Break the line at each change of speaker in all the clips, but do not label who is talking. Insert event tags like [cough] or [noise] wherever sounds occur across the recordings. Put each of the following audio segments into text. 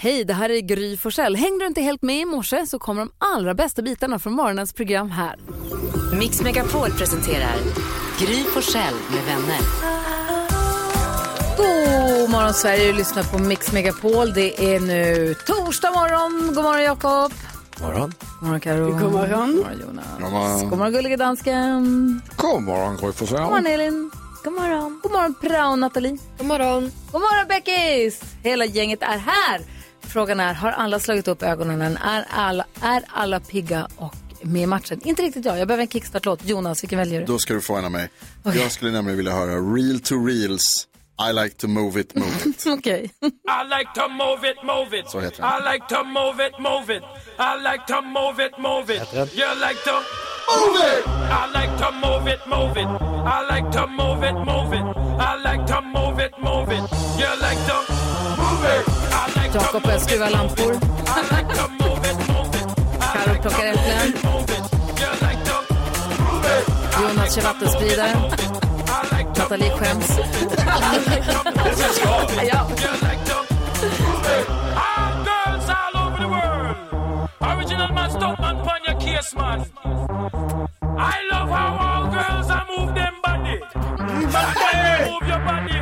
Hej, det här är Gry Forssell. Hängde du inte helt med i morse så kommer de allra bästa bitarna från morgonens program här.
Mix Megapol presenterar Gry Forssell med vänner.
God morgon Sverige, du lyssnar på Mix Megapol. Det är nu torsdag morgon. God morgon Jakob.
morgon.
God morgon Karo. God morgon. God morgon Jonas.
God morgon.
God morgon gullige dansken.
God morgon, Gry Forssell.
God morgon Elin. God morgon. God morgon Prao Nathalie. God morgon. God morgon Beckis. Hela gänget är här. Frågan är, har alla slagit upp ögonen? Är alla, är alla pigga och med i matchen? Inte riktigt jag. Jag behöver en kickstart-låt. Jonas, vilken väljer du?
Då ska du få en av mig. Jag skulle nämligen vilja höra Real to Reels, I like to move it, move
[laughs] [laughs]
it.
Okej.
I like to move it, move it.
Så heter den.
I like to move it, move it. I like to move it, move it. You like to move it. I like to move it, move it. I like to move it, move it. I like to move it, move it. You like to move it. I like to
Jakob börjar
move
skruva
it, move
lampor.
it. I like to move it, move it. I
Karo
like to
plockar
move
äpplen.
it, move it. You like to move it. I
Jonas kör
like to
vattenspridare.
move it, move it. I like to
Nathalie [laughs] skäms. ja.
You like to move it. Ah, girls all over the world. Original man, stop man, pan your case, man. I love how all girls are move them body. But when you move your body.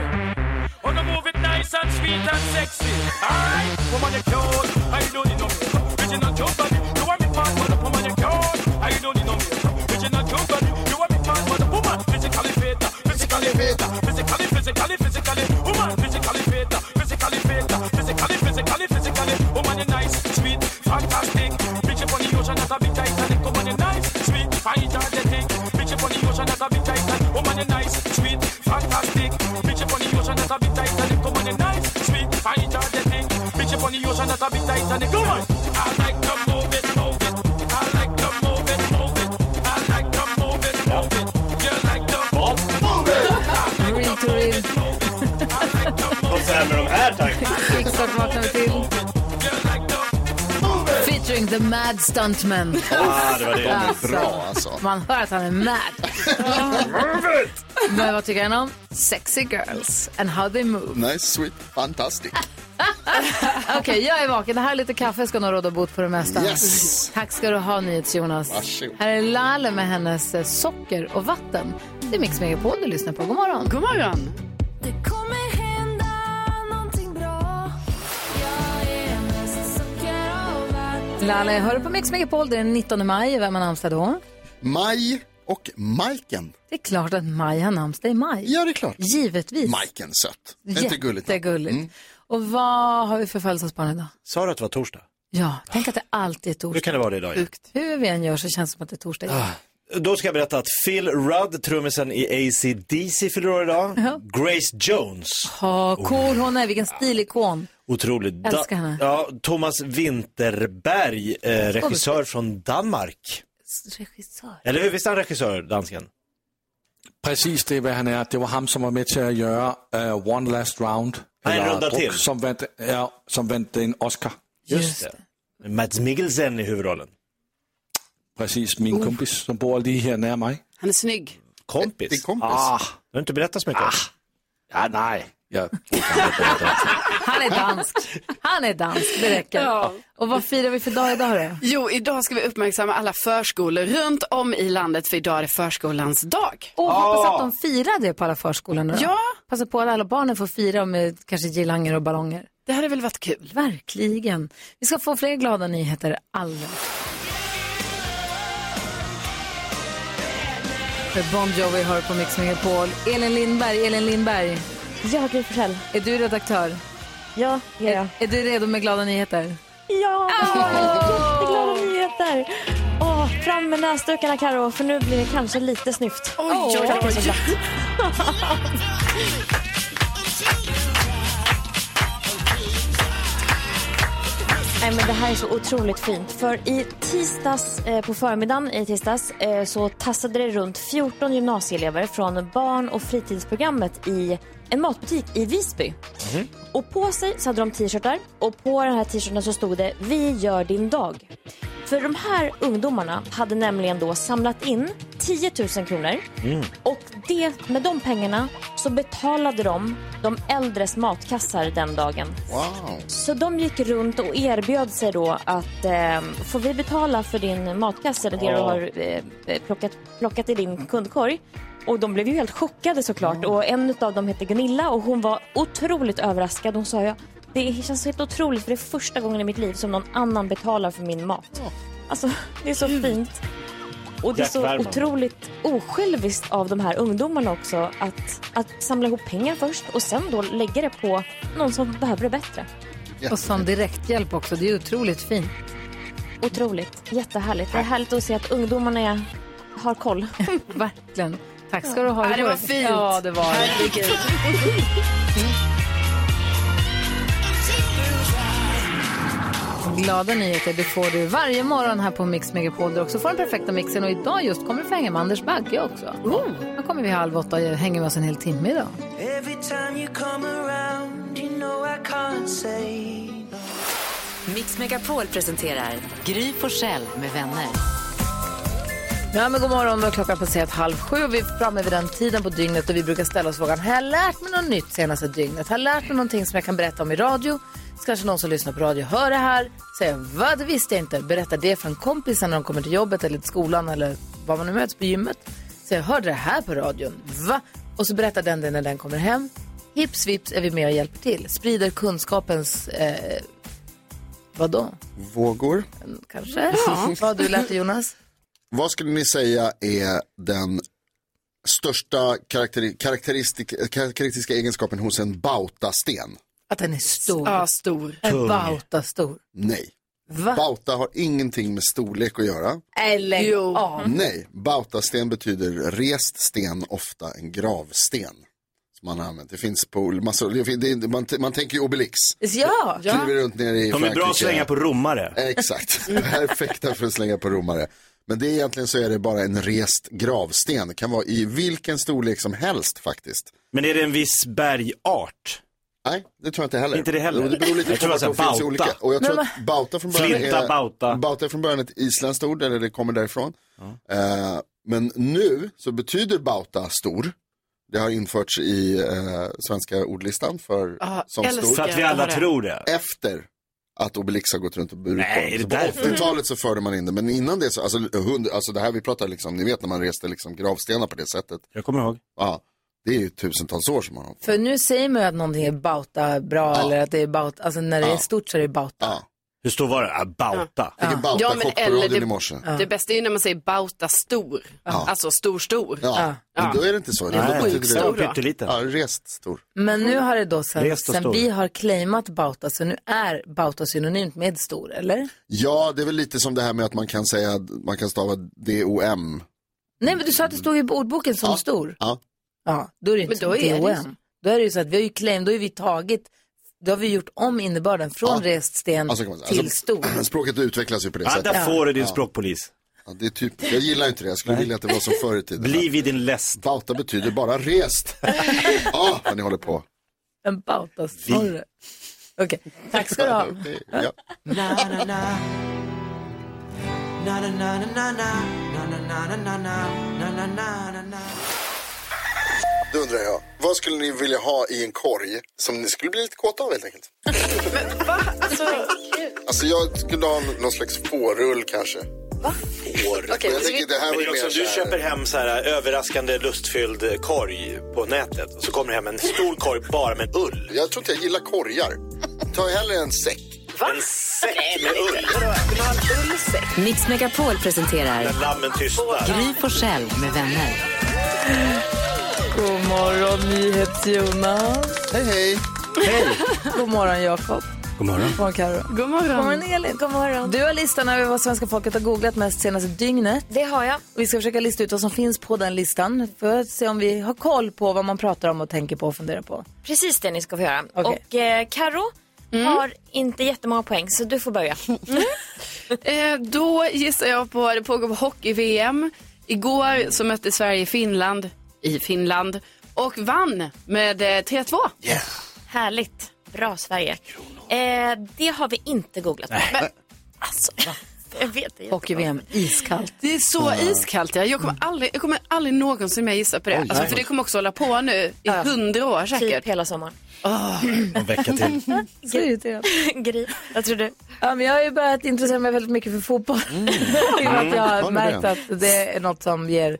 Wanna move it nice and sweet and sexy. Alright, woman you cute. I don't need no makeup. Original cute body. You want me fat, but woman you cute. I don't need no makeup. Original cute body. You want me fat, but woman physically fit. Physically fit. Physically, physically, physically. Woman physically fit. Physically fit. Physically, physically, physically. Woman you nice, sweet, fantastic. Bitch upon the ocean as a big Titanic. Woman you nice, sweet, fine, energetic. Bitch upon the ocean as a big Titanic. Woman you nice, sweet, fantastic. Bitch upon the ocean as a big Titanic. Woman you nice, sweet, fine, energetic. Bitch upon the ocean as a big Titanic. Come on. I like to move it, move it. I like to move it, move it. I like to move it, move it. You like to move it, move it.
Real to real.
Och så här med de här tankarna.
Kickstart vaknar vi till. Featuring the mad stuntman.
Ah, det var
De
det.
är bra alltså.
Man hör att han är mad. Men vad tycker han om? Sexy girls and how they
[laughs]
move.
Nice, sweet, fantastic.
Okej, jag är vaken. Det här är lite kaffe ska nog råda bot på det mesta.
Yes.
Tack ska du ha, NyhetsJonas.
Varsågod.
Här är Lale med hennes eh, socker och vatten. Det är Mix Megapol du lyssnar på. God morgon.
God morgon!
Det kommer hända någonting bra Jag är mest socker och vatten
Lale, hör du på Mix Megapol? Det är den 19 maj. Vem har namnsdag då?
Maj och Majken.
Det är klart att Maj har namnsdag i maj.
Ja, det är klart.
Givetvis.
Majken, sött. Är inte gulligt? Mm.
Jättegulligt. Och vad har vi för födelsedagsbarn idag?
Sa du att det var torsdag?
Ja, tänk att det alltid är
Hur
torsdag.
kan det vara det idag? Ah. igen?
Hur vi än gör så känns det som att det är torsdag.
Då ska jag berätta att Phil Rudd, trummisen i AC/DC fyller år idag. Grace Jones,
Ha, cool hon är, vilken
[laughs]
stilikon.
otrolig. Da-
Älskar henne.
Ja, Thomas Winterberg, eh, regissör från Danmark.
Regissör.
Eller hur? Visst är han regissör, dansken?
Precis det vad han är. Det var han som var med till att göra eh, One Last Round.
Nej, en
Eller
runda
Druck,
till.
Som vann, ja, som vann en Oscar.
Just det.
det. Mats Mikkelsen i huvudrollen.
Precis, min kompis som bor lige här nära mig.
Han är snygg.
Kompis. Ah.
Din
Du
kompis.
har inte berättat så mycket om.
Ah.
ja, nej.
[laughs]
Ja.
Han är dansk. Han är dansk, det räcker.
Ja.
Och vad firar vi för dag idag då?
Jo, idag ska vi uppmärksamma alla förskolor runt om i landet för idag är det förskolans dag.
Och hoppas att de firar det på alla förskolor nu då.
Ja.
Passa på att alla barnen får fira med kanske girlanger och ballonger.
Det hade väl varit kul?
Verkligen. Vi ska få fler glada nyheter alldeles. För Bon Jovi hör på Mix Megapol. Elin Lindberg, Elin Lindberg,
Ja, Gry Forssell.
är du redaktör?
Ja, det är jag.
Är du redo med glada nyheter?
Ja! Jätteglada nyheter! Åh, fram med näsdukarna, Karo, för nu blir det kanske lite snyft.
Oj, oj, oj. [laughs]
Nej, men det här är så otroligt fint. För i tisdags, eh, på förmiddagen i tisdags, eh, så tassade det runt 14 gymnasieelever från barn och fritidsprogrammet i en matbutik i Visby.
Mhm.
Och på sig så hade de t-shirtar och på den här t-shirten så stod det Vi gör din dag. För de här ungdomarna hade nämligen då samlat in 10 000 kronor. Och det, med de pengarna så betalade de de äldres matkassar den dagen.
Wow.
Så de gick runt och erbjöd sig då att eh, får vi betala för din matkasse eller det du
Ja.
har eh, plockat, plockat i din kundkorg? Och de blev ju helt chockade såklart. Och en av dem hette Gunilla och hon var otroligt överraskad. Hon sa ja, det känns helt otroligt för det är första gången i mitt liv som någon annan betalar för min mat. Alltså, det är så fint. Och det är
Jack
så
Bergman.
otroligt osjälviskt av de här ungdomarna också att, att samla ihop pengar först och sen då lägga det på någon som behöver det bättre.
Och som direkthjälp också. Det är otroligt fint.
Otroligt. Jättehärligt. Det är härligt att se att ungdomarna är, har koll.
[laughs] Verkligen. Tack ska du ha.
Ja, det var
går-
fint.
Ja, det var det.
Herregud.
Glada nyheter det får du varje morgon här på Mix Megapol. Där du också får den perfekta mixen. Och idag just kommer du få hänga med Anders Bagge också. Han kommer vi halv åtta och hänger med oss en hel timme idag.
Every time you come around, you know I can't say.
Mix Megapol presenterar Gry Forssell med vänner.
Ja, men god morgon. Då har klockan passerat halv sju och vi är framme vid den tiden på dygnet och vi brukar ställa oss frågan, har jag lärt mig något nytt senaste dygnet? Har jag lärt mig någonting som jag kan berätta om i radio? Så kanske någon som lyssnar på radio hör det här, säger vad, det visste jag inte. Berätta det för en kompis när de kommer till jobbet eller till skolan eller var man nu möts på gymmet. Så jag hörde det här på radion, va? Och så berättar den det när den kommer hem. Hips vips är vi med och hjälper till, sprider kunskapens, eh, vadå,
Vågor.
kanske? Vad har du lärt dig Jonas?
[laughs] Vad skulle ni säga är den största karakteri- karaktäristik- karaktäristiska egenskapen hos en bautasten?
Att den är stor.
Ja, stor.
En
Tung.
bauta stor.
Nej.
Va?
Bauta har ingenting med storlek att göra.
Eller
Jo.
Mm. Nej, bautasten betyder rest sten, ofta en gravsten. Som man har använt. Det finns på massor, det fin- det, man, man tänker ju Obelix.
Ja.
Kliver runt nere i
De är bra att
Frankrike.
slänga på romare.
Exakt, perfekta för att slänga på romare. Men det är egentligen så är det bara en rest gravsten. Kan vara i vilken storlek som helst faktiskt.
Men är det en viss bergart?
Nej, det tror jag inte heller.
Inte det heller?
Det beror lite
Jag
på
tror
vart
alltså
de finns i
bauta.
olika. Och jag tror
Men
att bauta från början
Flinta,
är,
bauta.
är från början ett isländskt ord, eller det kommer därifrån. Eh, men nu så betyder bauta stor. Det har införts i eh, svenska ordlistan för
Ja,
som
älskar
stor.
Så att vi alla
det.
tror det.
efter att Obelix har gått runt och burit
Nej,
på
är det
dem. Så
därför?
på 80-talet så förde man in det, men innan det så, alltså, hund, alltså det här vi pratar liksom, ni vet när man reste liksom gravstenar på det sättet.
Jag kommer ihåg.
Ja, det är ju tusentals år som man har
För nu säger man ju att någonting är bauta bra eller att det är bauta, alltså när det är stort så är det bauta.
Ja,
Hur stor var det? Ah, Bauta.
fick en
Ja,
bautachock
men
på
eller
radion
det-
i morse.
Det bästa är ju när man säger bauta stor. Alltså stor, stor.
Ja, men då är det inte så. Det
Nej,
betyder
det var
det.
pytteliten.
Ja, rest stor.
Men
Mm.
nu har det då sen,
Rest och
sen
stor.
vi har claimat bauta så nu är bauta synonymt med stor, eller?
Ja, det är väl lite som det här med att man kan säga, att man kan stava D-O-M.
Nej men du sa att det stod i ordboken som stor.
Mm. Ja,
Ja, då är det
Men
inte
då
som
är det ju
DOM.
så.
Då är det ju så att vi har ju claim, då har vi tagit, då har vi gjort om innebörden från rest sten
alltså kan man säga.
till
Alltså,
stor.
[clears throat] språket utvecklas ju på det
Ah,
sättet.
där får du din språkpolis.
Ja, det är typ, jag gillar inte det, jag skulle vilja att det var som förr i
[laughs]
tiden.
Bli vid din läst.
Bauta betyder bara rest. Ja, vad ni håller på.
En bauta större. Okej, tack ska du ha.
Okej, ja.
[laughs]
Då undrar jag, vad skulle ni vilja ha i en korg som ni skulle bli lite kåta av helt enkelt? Alltså jag skulle ha någon slags fårull kanske. Får?
Okej,
jag
så
tänker
vi-
det här
Men
var
det är också,
ju mer
om du
så här-
köper hem så här överraskande lustfylld korg på nätet och så kommer det hem en stor korg bara med ull.
Jag tror inte jag gillar korgar. Ta hellre en säck.
En säck med ull
Mix Megapol presenterar
när lammen tystnar.
Gry Forssell med vänner.
God morgon NyhetsJonas.
Hej hej.
God morgon Jakob.
God morgon.
God morgon Carro.
God morgon.
God morgon Elin.
God morgon.
Du har listan över vad svenska folket har googlat mest senaste dygnet.
Det har jag.
Och Vi ska försöka lista ut vad som finns på den listan för att se om vi har koll på vad man pratar om och tänker på och funderar på.
Precis det ni ska få göra.
Okej. Mm.
Och eh, Karo har inte jättemånga poäng så du får börja.
[laughs]
Eh, då gissar jag på, det pågår hockey-VM. Igår så mötte Sverige Finland i Finland och vann med eh, 3-2.
Härligt. Bra Sverige. Eh, det har vi inte googlat på. Men, alltså, [laughs] Jag vet det.
Hockey-VM, iskallt.
Det är så iskallt. Ja. Jag, kommer aldrig, jag kommer aldrig någonsin mer gissa på det.
Oj.
alltså, för det kommer också hålla på nu i hundra år säkert. Typ
hela sommaren.
Ah, En vecka till.
[laughs] Så irriterad.
[laughs] Gry, vad tror du?
Ja, men jag har ju börjat intressera mig väldigt mycket för fotboll. [laughs] I och med att jag
Har
har
du
märkt
det?
att det är något som ger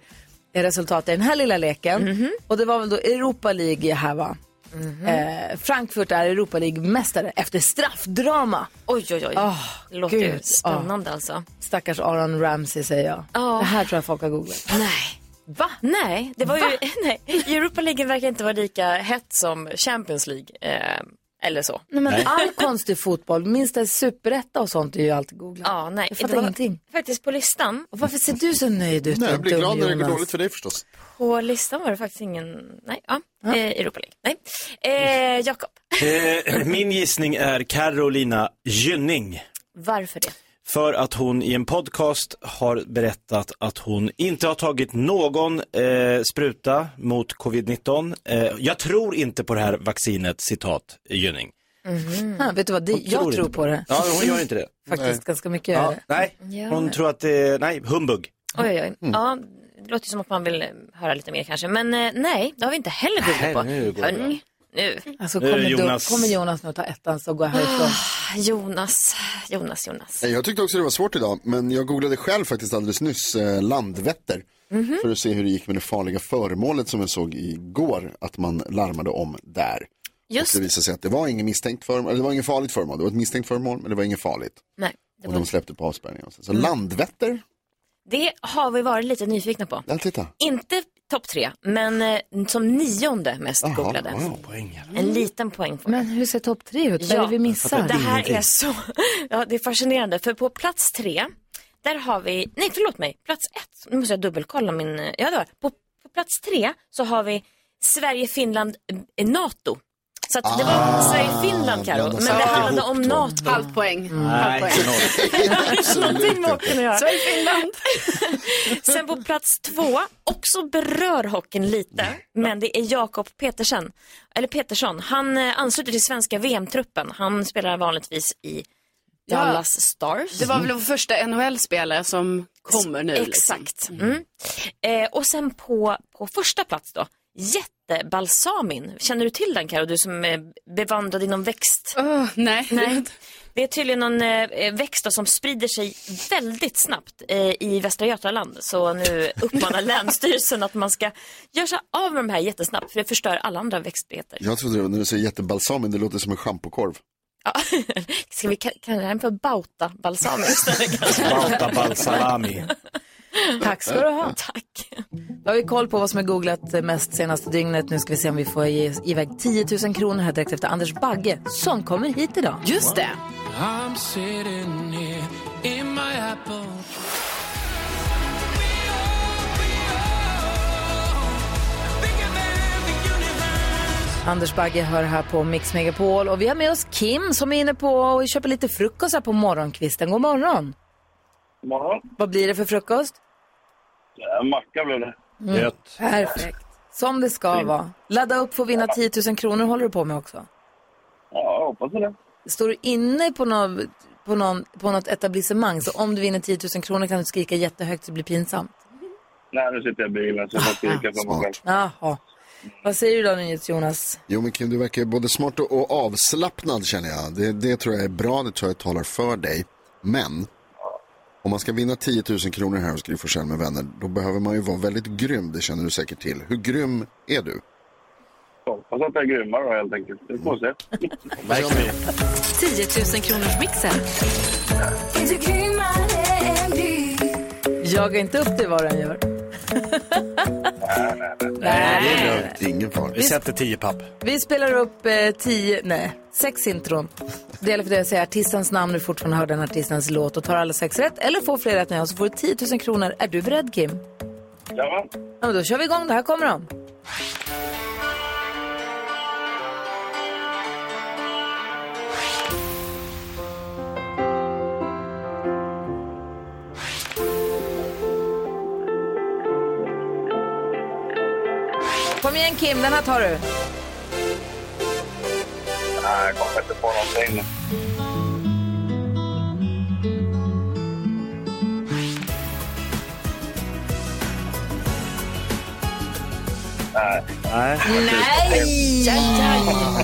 resultat i den här lilla leken.
Mhm.
Och det var väl då Europa League här va?
Mm.
Eh, Frankfurt är Europa League-mästare efter straffdrama.
Oj, oj, oj.
Åh,
det låter ju
Ah, gud.
spännande alltså.
Stackars Aaron Ramsey säger jag.
Ja.
Det här tror jag folk har googlat.
Va? Nej, det var ju, [laughs] nej. Europa League verkar inte vara lika hett som Champions League. Eh, eller så.
Nej, men ah. all konstig fotboll, minst det superetta och sånt är ju alltid googlat.
Ja, nej.
Jag fattar
det var
ingenting.
Faktiskt på listan.
Och varför ser du så nöjd ut?
Nej, jag blir
dum
glad när det går
Jonas?
dåligt för dig förstås.
På listan var det faktiskt ingen, nej, ja. Eh, Europa League. Nej. Eh, Jakob,
Eh, Min gissning är Carolina Gynning.
varför det?
För att hon i en podcast har berättat att hon inte har tagit någon eh, spruta mot covid-19. Eh, jag tror inte på det här vaccinet, citat Gynning.
Mhm. Ha, vet du vad, det,
Hon
jag tror på det.
Ja, hon gör inte det.
Faktiskt
Nej.
ganska mycket gör
Ja,
det.
nej,
Ja.
hon tror att det är, nej, humbug.
Oj, oj, oj.
Mm.
Ja, det låter ju som att man vill eh, höra lite mer kanske. Men eh, nej, det har vi inte heller
Nej,
googlat på.
nu går det bra.
Hörni, nu.
Alltså,
Nu är det
kommer, Jonas.
Jonas.
Då, kommer Jonas nu ta ettan så går jag härifrån.
Ah, Jonas, Jonas, Jonas.
Nej, Jag tyckte också det var svårt idag, men jag googlade själv faktiskt alldeles nyss eh, Landvetter.
Mhm.
För att se hur det gick med det farliga föremålet som jag såg igår att man larmade om där.
Just
Och det visade sig att det var ingen misstänkt föremål, eller det var ingen farligt föremål, det var ett misstänkt föremål men det var inget farligt.
Nej, det,
Och
var... Mm.
de släppte på avspärrningen. och Så, så Landvetter,
det har vi varit lite nyfikna på.
ja titta.
Inte topp tre, men eh, som nionde mest
Aha,
googlade.
wow.
En liten poäng får jag.
Men hur ser topp tre ut? Vad är det vi missar?
Det här är så, [laughs] ja det är fascinerande för på plats tre, där har vi, nej förlåt mig, plats ett, nu måste jag dubbelkolla min, eh, ja det var, på, på plats tre så har vi Sverige, Finland, eh, NATO. Så att det var Sverige, Finland Karo, men
blandas
det
alltid
handlade
ihop
om
då.
NATO.
Halv poäng. Halv
Nej,
poäng.
noll.
[laughs] Någonting med hockeyn att göra.
Sverige, Finland.
Sen på plats två, också berör hockeyn lite, men det är Jakob Petersen, eller Petersson. Han eh, ansluter till svenska VM-truppen. Han spelar vanligtvis i
Ja.
Dallas Stars.
Det var väl vår första NHL-spelare som kommer nu. liksom.
Exakt. Mm. Eh, och sen på, på första plats då, jättebalsamin. Känner du till den Karo, du som är bevandrad inom växt?
Åh, nej.
Nej.
[laughs]
Det är tydligen någon eh, växt då, som sprider sig väldigt snabbt eh, i Västra Götaland. Så nu uppmanar [laughs] Länsstyrelsen att man ska göra sig av med de här jättesnabbt för det förstör alla andra växtbeter.
Jag trodde det var när du säger jättebalsamin, det låter som en schampokorv.
Ja. Ska vi ka- kalla den för bautabalsamin istället kanske?
Balta balsalami.
Tack ska du [laughs] ha.
Tack.
Då har vi koll på vad som är googlat mest senaste dygnet. Nu ska vi se om vi får ge iväg 10 000 kronor här direkt efter Anders Bagge som kommer hit idag.
Just det.
Anders Bagge hör här på Mix Megapol och vi har med oss Kim som är inne på och köper lite frukost här på morgonkvisten. God morgon.
morgon.
Vad blir det för frukost? Mm.
Ja, macka blev det.
Gött.
Perfekt. Som det ska vara. Ladda upp för att vinna 10 000 kronor håller du på med också.
Ja, jag hoppas det.
Står du inne på, någon, på, någon, på något etablissemang så om du vinner 10 000 kronor kan du skrika jättehögt så det blir pinsamt.
Nej, nu sitter jag i bilen så jag får skrika för mig själv.
Jaha. Vad säger du då nu Jonas?
Jo men Kim, du verkar både smart och- och avslappnad känner jag. Det, det tror jag är bra, det tror jag talar för dig. Men, om man ska vinna 10 000 kronor här hos Gry Forssell med vänner, då behöver man ju vara väldigt grym, det känner du säkert till. Hur grym är du?
Jag Hoppas att jag är grymmare då helt enkelt. Vi får se.
10 000 kronors mixen.
Är du grymmare än du?
Jaga inte upp dig vad den gör.
Ingen fara.
Vi sätter tio papp.
Vi spelar upp eh, tio, nej, sex intron. Det gäller för dig att säga artistens namn när du fortfarande hör den artistens låt och tar alla sex rätt eller får fler rätt än jag så får du 10 000 kronor. Är du beredd Kim?
Ja,
Ja, men då kör vi igång, det här kommer de. Kom igen Kim, den här tar du.
nej, jag kommer inte på någonting.
Nej.
Nej!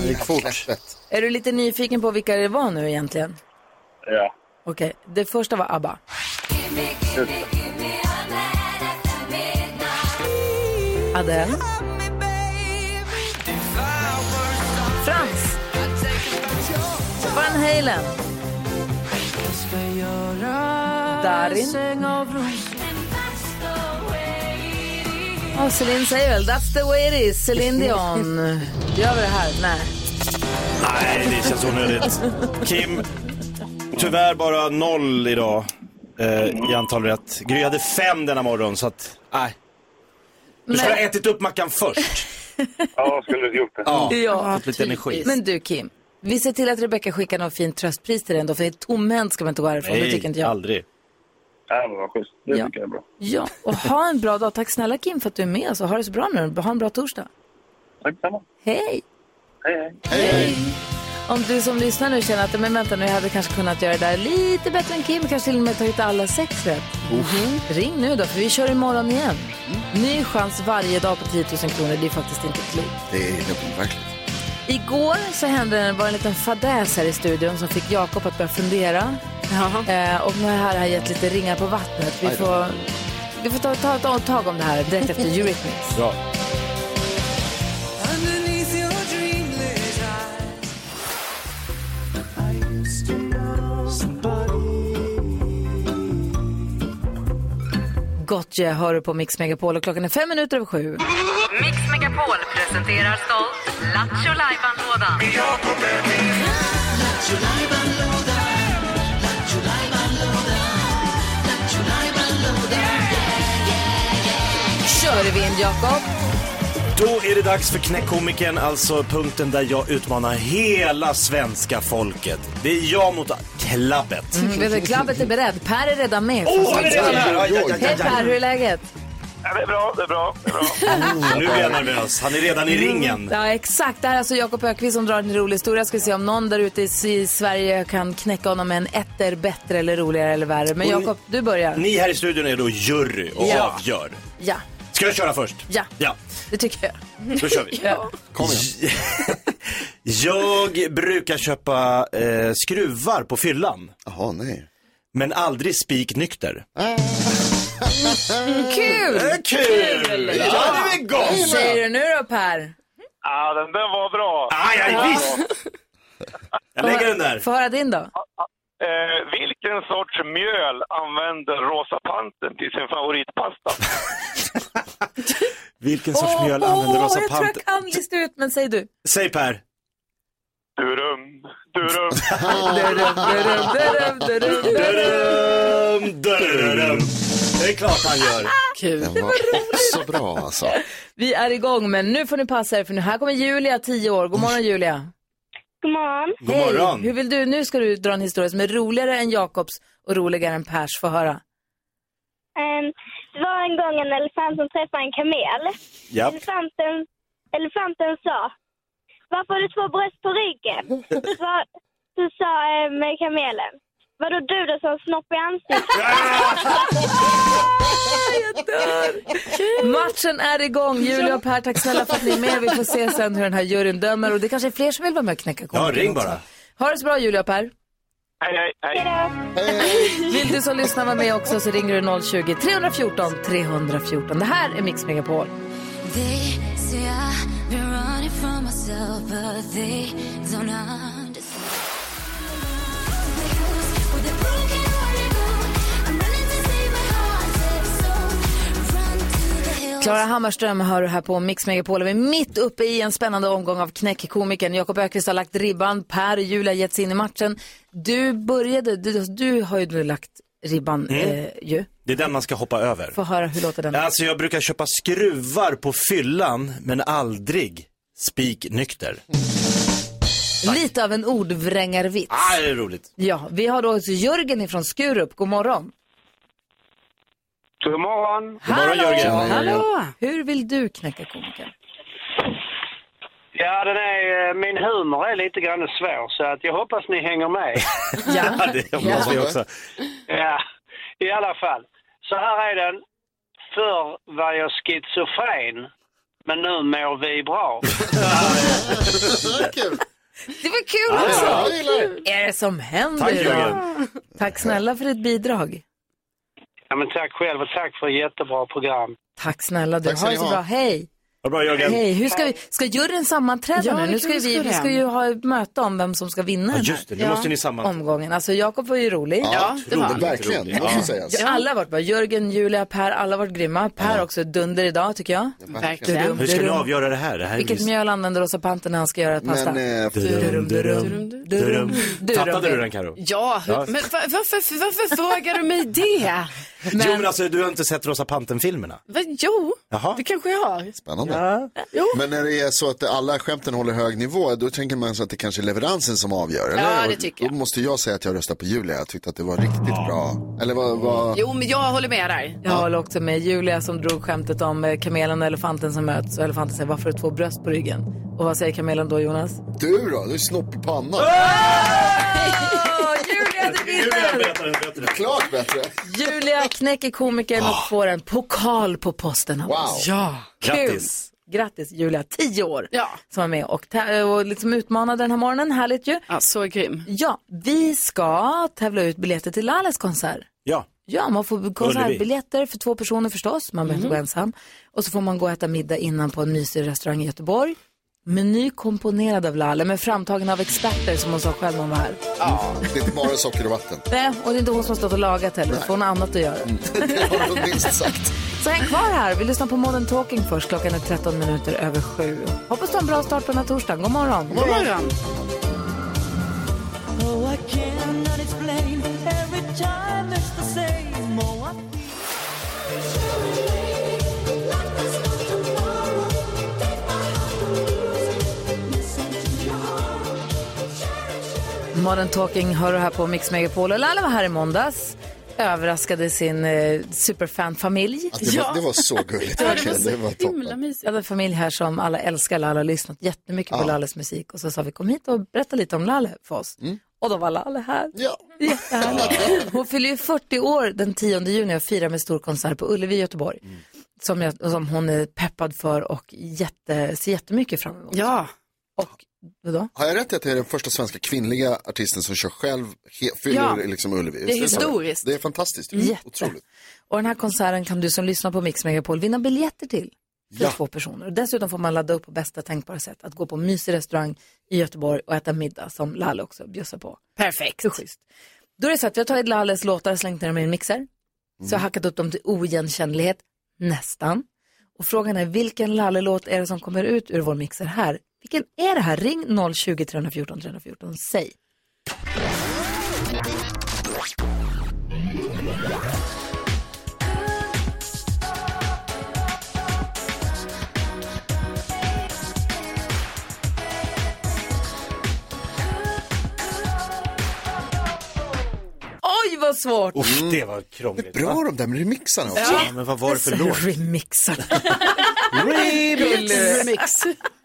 Det gick fort.
Är du lite nyfiken på vilka det var nu egentligen?
Ja.
Okej, det första var ABBA. Adele. Frans. Van Halen. Darin. Och Celine säger väl That's the way it is, Celine Dion. Gör vi det här? Nej.
Nej, det känns onödigt. Kim, tyvärr bara noll idag eh, i antal rätt. Gry hade fem denna morgon, så att nej. Du skulle ha ätit upp mackan först.
Ja, skulle du gjort det.
Ja, fått lite energi.
Typ. Men du Kim, vi ser till att Rebecca skickar någon fin tröstpris till dig ändå, för tomhänt ska man inte gå härifrån, det tycker inte jag.
aldrig.
Ja, men vad schysst. Det
Ja.
tycker jag är bra.
Ja, och ha en bra dag. Tack snälla Kim för att du är med oss och ha det så bra nu. Ha en bra torsdag.
Tack samma.
Hej!
Hej,
hej. Om du som lyssnar nu känner att men vänta nu, jag hade kanske kunnat göra det där lite bättre än Kim, kanske till och med tagit alla sex rätt. Mhm. Ring nu då, för vi kör imorgon igen.
Mm.
Ny chans varje dag på 10 000 kronor, det är faktiskt inte klokt.
Det är helt verkligt.
Igår så hände det var en liten fadäs här i studion som fick Jakob att börja fundera. Eh, och nu har det här gett lite ringar på vattnet. Vi
Aj då.
får, vi får ta, ta ett omtag om det här direkt efter Eurythmics.
Bra.
Underneath your dreamlit eyes, I used to know
Gottje hör du på Mix Megapol och klockan är fem minuter över sju.
Mix Megapol presenterar stolt Lattjo Lajban-lådan.
Kör i vind, Jakob.
Då är det dags för knäckkomikern, alltså punkten där jag utmanar hela svenska folket. Det är jag mot klabbet.
[laughs] Mm, vet du, Klabbet är beredd. Per är redan med.
Åh, han är redan här! Aj, aj, aj, aj,
Hej Per,
aj.
hur är läget?
Ja, det är bra, det är bra. Det är bra.
Nu är jag nervös. Han är redan i ringen.
Ja, exakt. Det här är alltså Jakob Ökvist som drar en rolig historia. Ska se om någon där ute i S- i Sverige kan knäcka honom med en etter bättre eller roligare eller värre. Men
Och ni-
Jakob, du börjar.
Ni här i studion är då jury och
Ja.
avgör.
Ja,
Ska jag köra först?
Ja.
Ja,
det tycker jag.
då kör vi.
[laughs] Ja.
Kom igen. [laughs] jag brukar köpa eh, skruvar på fyllan.
Jaha, nej.
Men aldrig spiknykter.
Kul!
Det är Eh, kul! Ja, det är väl gott!
Vad säger du nu då Per?
Ja, den där var bra.
Aj, aj, visst! Jag lägger den där.
Få höra din då.
Eh, vilken sorts mjöl använder Rosa Panten till sin favoritpasta?
Vilken sorts mjöl använder Rosa
jag tror
Pant?
jag kan lista ut, men säg du.
Säg Per.
Durum, durum.
Dudum, dudum. Det är klart han gör.
Kul.
Den var också bra alltså.
Vi är igång, men nu får ni passa er för nu här kommer Julia, 10 år. God morgon Julia.
God morgon.
God morgon.
Hur vill du? Nu ska du dra en historia som är roligare än Jakobs och roligare än Pers. Få höra.
Ehm, det var en gång en elefant som träffade en kamel.
Japp.
Elefanten, elefanten sa, varför har du två bröst på ryggen? Svar, så sa um, kamelen, vadå du då som har snopp i ansiktet?
Matchen är igång. Julia och Per, tack snälla för att ni är med. Vi får se sen hur den här juryn dömer och det kanske är fler som vill vara med och knäcka
Ja,
komikern
ring
också.
bara.
Ha det så bra Julia och Per.
Hej, hej, hej.
Vill du som lyssnar vara med också så ringer du 020 314 314. Det här är Mix Megapol.
They say I've been running from myself, but they don't understand. With a broken heart and all, I'm running to save my heart and soul. Run to the hills.
Klara Hammarström hör du här på Mix Megapol. Vi är mitt uppe i en spännande omgång av Knäckkomikern. Jakob Ökvist har lagt ribban, Per och Julia har gett sig in i matchen. Du började, du, du har ju nu lagt ribban
Mm.
eh, ju.
Det är den man ska hoppa över.
Få höra, hur låter den?
Alltså jag brukar köpa skruvar på fyllan men aldrig spiknykter.
Lite av en ordvrängarvits.
Ah, det är roligt.
Ja, vi har då Jörgen ifrån Skurup. God morgon.
God morgon.
God morgon Jörgen.
Hallå! Hur vill du knäcka komikern?
Ja, den är, eh, min humor är lite grann svår, så att jag hoppas ni hänger med.
Ja, det hoppas vi också.
ja, i alla fall. Så här är den. Förr var jag schizofren.
men nu mår vi
[laughs]
bra.
Det var kul
Ja,
också.
ja,
Vad
jag gillar
är det som händer?
Tack,
idag?
Jörgen.
Tack snälla för ditt bidrag.
ja, men tack själv och tack för ett jättebra program.
Tack snälla du.
Tack ska
ha
ni
det så
ha.
bra. Hej.
Ha bra
Hej. Hur ska, vi, ska juryn sammanträda
Ja, det
nu? Nu
kan
ska
vi
ju vi,
göra.
vi ska ju ha ett möte om vem som ska vinna
Ja,
den här
just det. Nu måste ni sammanträda.
omgången. Alltså Jakob var ju rolig.
Ja, det var han. Verkligen, det måste sägas.
Ja, alla har varit bra. Jörgen, Julia, Per, alla har varit grymma. Per också dunder idag tycker jag. Durum,
Hur ska ni
durum.
avgöra det här? Det här är
Vilket
visst-
mjöl använder Rosa Panter när han ska göra pasta?
Men, eh,
Durum, durum, durum, durum.
Tappade du den Karo?
Ja,
Ja.
men va- varför, varför frågar du mig det?
Jo men alltså du har inte sett Rosa Panten-filmerna?
Va, jo,
Jaha.
det kanske jag har.
Spännande.
Jo.
Men när det är så att alla skämten håller hög nivå, då tänker man så att det kanske är leveransen som avgör, eller?
Ja, det
Och
tycker jag.
Då måste jag säga att jag röstar på Julia. Jag tyckte att det var riktigt bra. Eller vad... vad...
Jo, men jag håller med där.
Jag håller också med Julia som drog skämtet om eh, kamelen och elefanten som möts och elefanten säger varför har du två bröst på ryggen? Och vad säger kamelen då Jonas?
Du då? Du är snopp i pannan.
Julia, du
vinner! Klart bättre.
Julia knäcker komikern och får en pokal på posten av oss.
Wow.
Ja, kul.
Grattis.
Grattis Julia, tio år, som var med och, tä- och liksom utmanade den här morgonen. Härligt ju.
Ja, så grym.
Ja, vi ska tävla ut biljetter till Lales konsert.
Ja.
Ja, man får
Ullevi.
konsertbiljetter för två personer förstås, man behöver
Mhm.
inte gå ensam. Och så får man gå och äta middag innan på en mysig restaurang i Göteborg. Meny komponerad av Lalle, men framtagen av experter som hon sa själv om här.
Ja. Det är inte bara socker och vatten.
Nej, och det är inte hon som har stått och lagat heller, för hon har annat att göra.
Mm. [laughs] Det har de minst sagt.
Så häng kvar här, vi lyssnar på Modern Talking först, klockan är 13 minuter över sju. Hoppas du har en bra start på den här torsdagen, god morgon.
God morgon.
Oh, I cannot explain. Every time it's the same. Oh, I
Modern Talking hör du här på Mix Megapol och Lalle var här i måndags. Överraskade sin eh, superfanfamilj.
Att det, var, det var så
[laughs]
gulligt. verkligen. Det var toppen.
Jag hade en familj här som alla älskar Lalle och har lyssnat jättemycket på
Ja.
Lalles musik. Och så sa vi kom hit och berätta lite om Lalle för oss.
Mm.
Och då var Lalle här.
Ja.
Jättehärligt. Hon fyller ju 40 år den 10 juni och firar med stor konsert på Ullevi i Göteborg.
Mm.
Som, jag, som hon är peppad för och jätte, ser jättemycket fram emot.
Ja.
Och vadå?
Har jag rätt i att det är den första svenska kvinnliga artisten som kör själv, he, fyller
Ja.
liksom Ullevi?
Det är
Visst så?
historiskt. Mm.
Det är fantastiskt.
Jätte.
Mm, Otroligt.
Och den här konserten kan du som lyssnar på Mix Megapol vinna biljetter till. För
Ja.
två personer. Och Dessutom får man ladda upp på bästa tänkbara sätt. Att gå på en mysig restaurang i Göteborg och äta middag som Lalle också bjussar på.
Perfekt.
Så schysst. Då är det så att vi har tagit Lalles låtar och slängt ner dem i en mixer. Så jag har hackat upp dem till oigenkännlighet, nästan. Och frågan är vilken Lalle-låt är det som kommer ut ur vår mixer här? Vilken är det här? Ring 020 314 314, säg. Oj, vad svårt!
Uff, det var krångligt.
Mm. Bra de där remixarna också.
Ja, men vad var det för låt?
Remixar.
Remix.
Remix.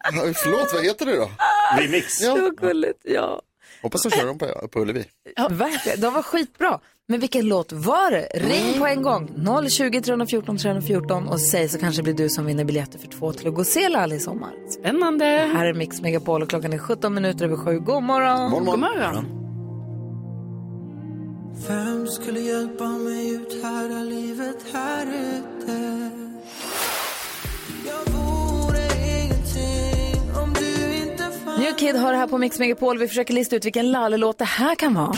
Ja, Förlåt, vad heter det då?
Remix.
Ja. Så gulligt, ja.
Hoppas de kör dem på, på Ullevi.
Ja, [laughs] verkligen. De var skitbra. Men vilken låt var det? Ring på en gång. 020 314 314 och säg så kanske det blir du som vinner biljetter för två till att gå och se Lalle i sommar.
Spännande.
Här är Mix Megapol och klockan är 17 minuter över sju. God morgon.
God morgon.
Vem skulle hjälpa mig ut här av livet här ute? Jag vore ingenting om du inte fanns
New Kid har det här på Mix Megapol. Vi försöker lista ut vilken Lalle-låt det här kan vara.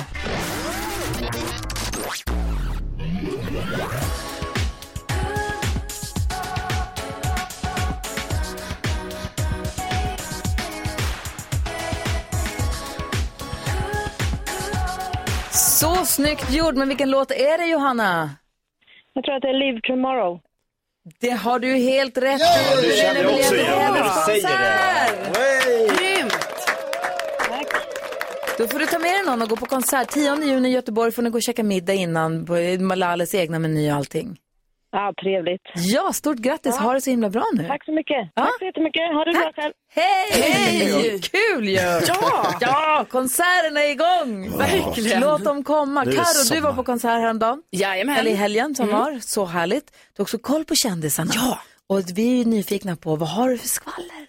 Så snyggt gjort, men vilken låt är det Johanna?
Jag tror att det är Live Tomorrow.
Det har du helt rätt
Ja,
i.
det känner jag också igen när du säger
det. Grymt! Då får du ta med dig någon och gå på konsert. 10 juni i Göteborg får ni gå och käka middag innan på Malales egna meny och allting.
Ja, trevligt.
Ja, stort grattis. Ha det så himla bra nu.
Tack så mycket.
Ja.
Tack så jättemycket. Ha det bra själv.
Hej!
Hej!
Kul ju!
Ja!
ja, konserten är igång!
Verkligen.
Låt dem komma.
Nu är det
Karo, du
sommar.
var på konsert häromdagen.
Jajamän.
Eller i helgen som
Mm.
var. Så härligt. Du har också koll på kändisarna. Ja. Och vi är ju nyfikna på vad har du för skvaller?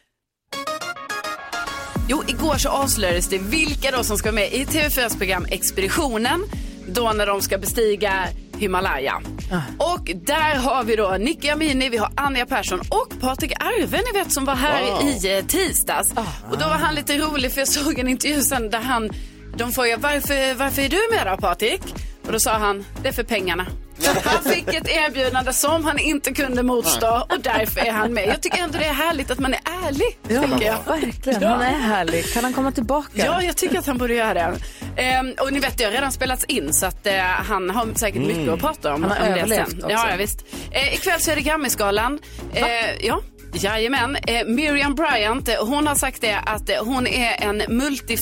Jo, igår så avslöjades det vilka då som ska vara med i TV4s program Expeditionen. Då när de ska bestiga Himalaya.
Ah.
Och där har vi då Nicky Amini, vi har Anja Persson och Patrik Arve, ni vet som var här
Wow.
i eh, tisdags.
Ah.
Och då var han lite rolig för jag såg en intervju sen där han, de frågade varför, varför är du med då Patrik? Och då sa han, det är för pengarna. Han fick ett erbjudande som han inte kunde motstå och därför är han med. Jag tycker ändå det är härligt att man är ärlig. tycker jag.
verkligen.
Ja.
Han är härlig. Kan han komma tillbaka?
Ja, jag tycker att han borde göra det. Ehm, och ni vet, det har redan spelats in så att eh, han har säkert
Mm.
mycket att prata om.
Han har
om
överlevt
det sen.
också.
Ja, ja, visst. Eh, ikväll så är det Grammisgalan. Eh, ja. Jajamän. Eh, Miriam Bryant, eh, hon har sagt det att eh, hon är en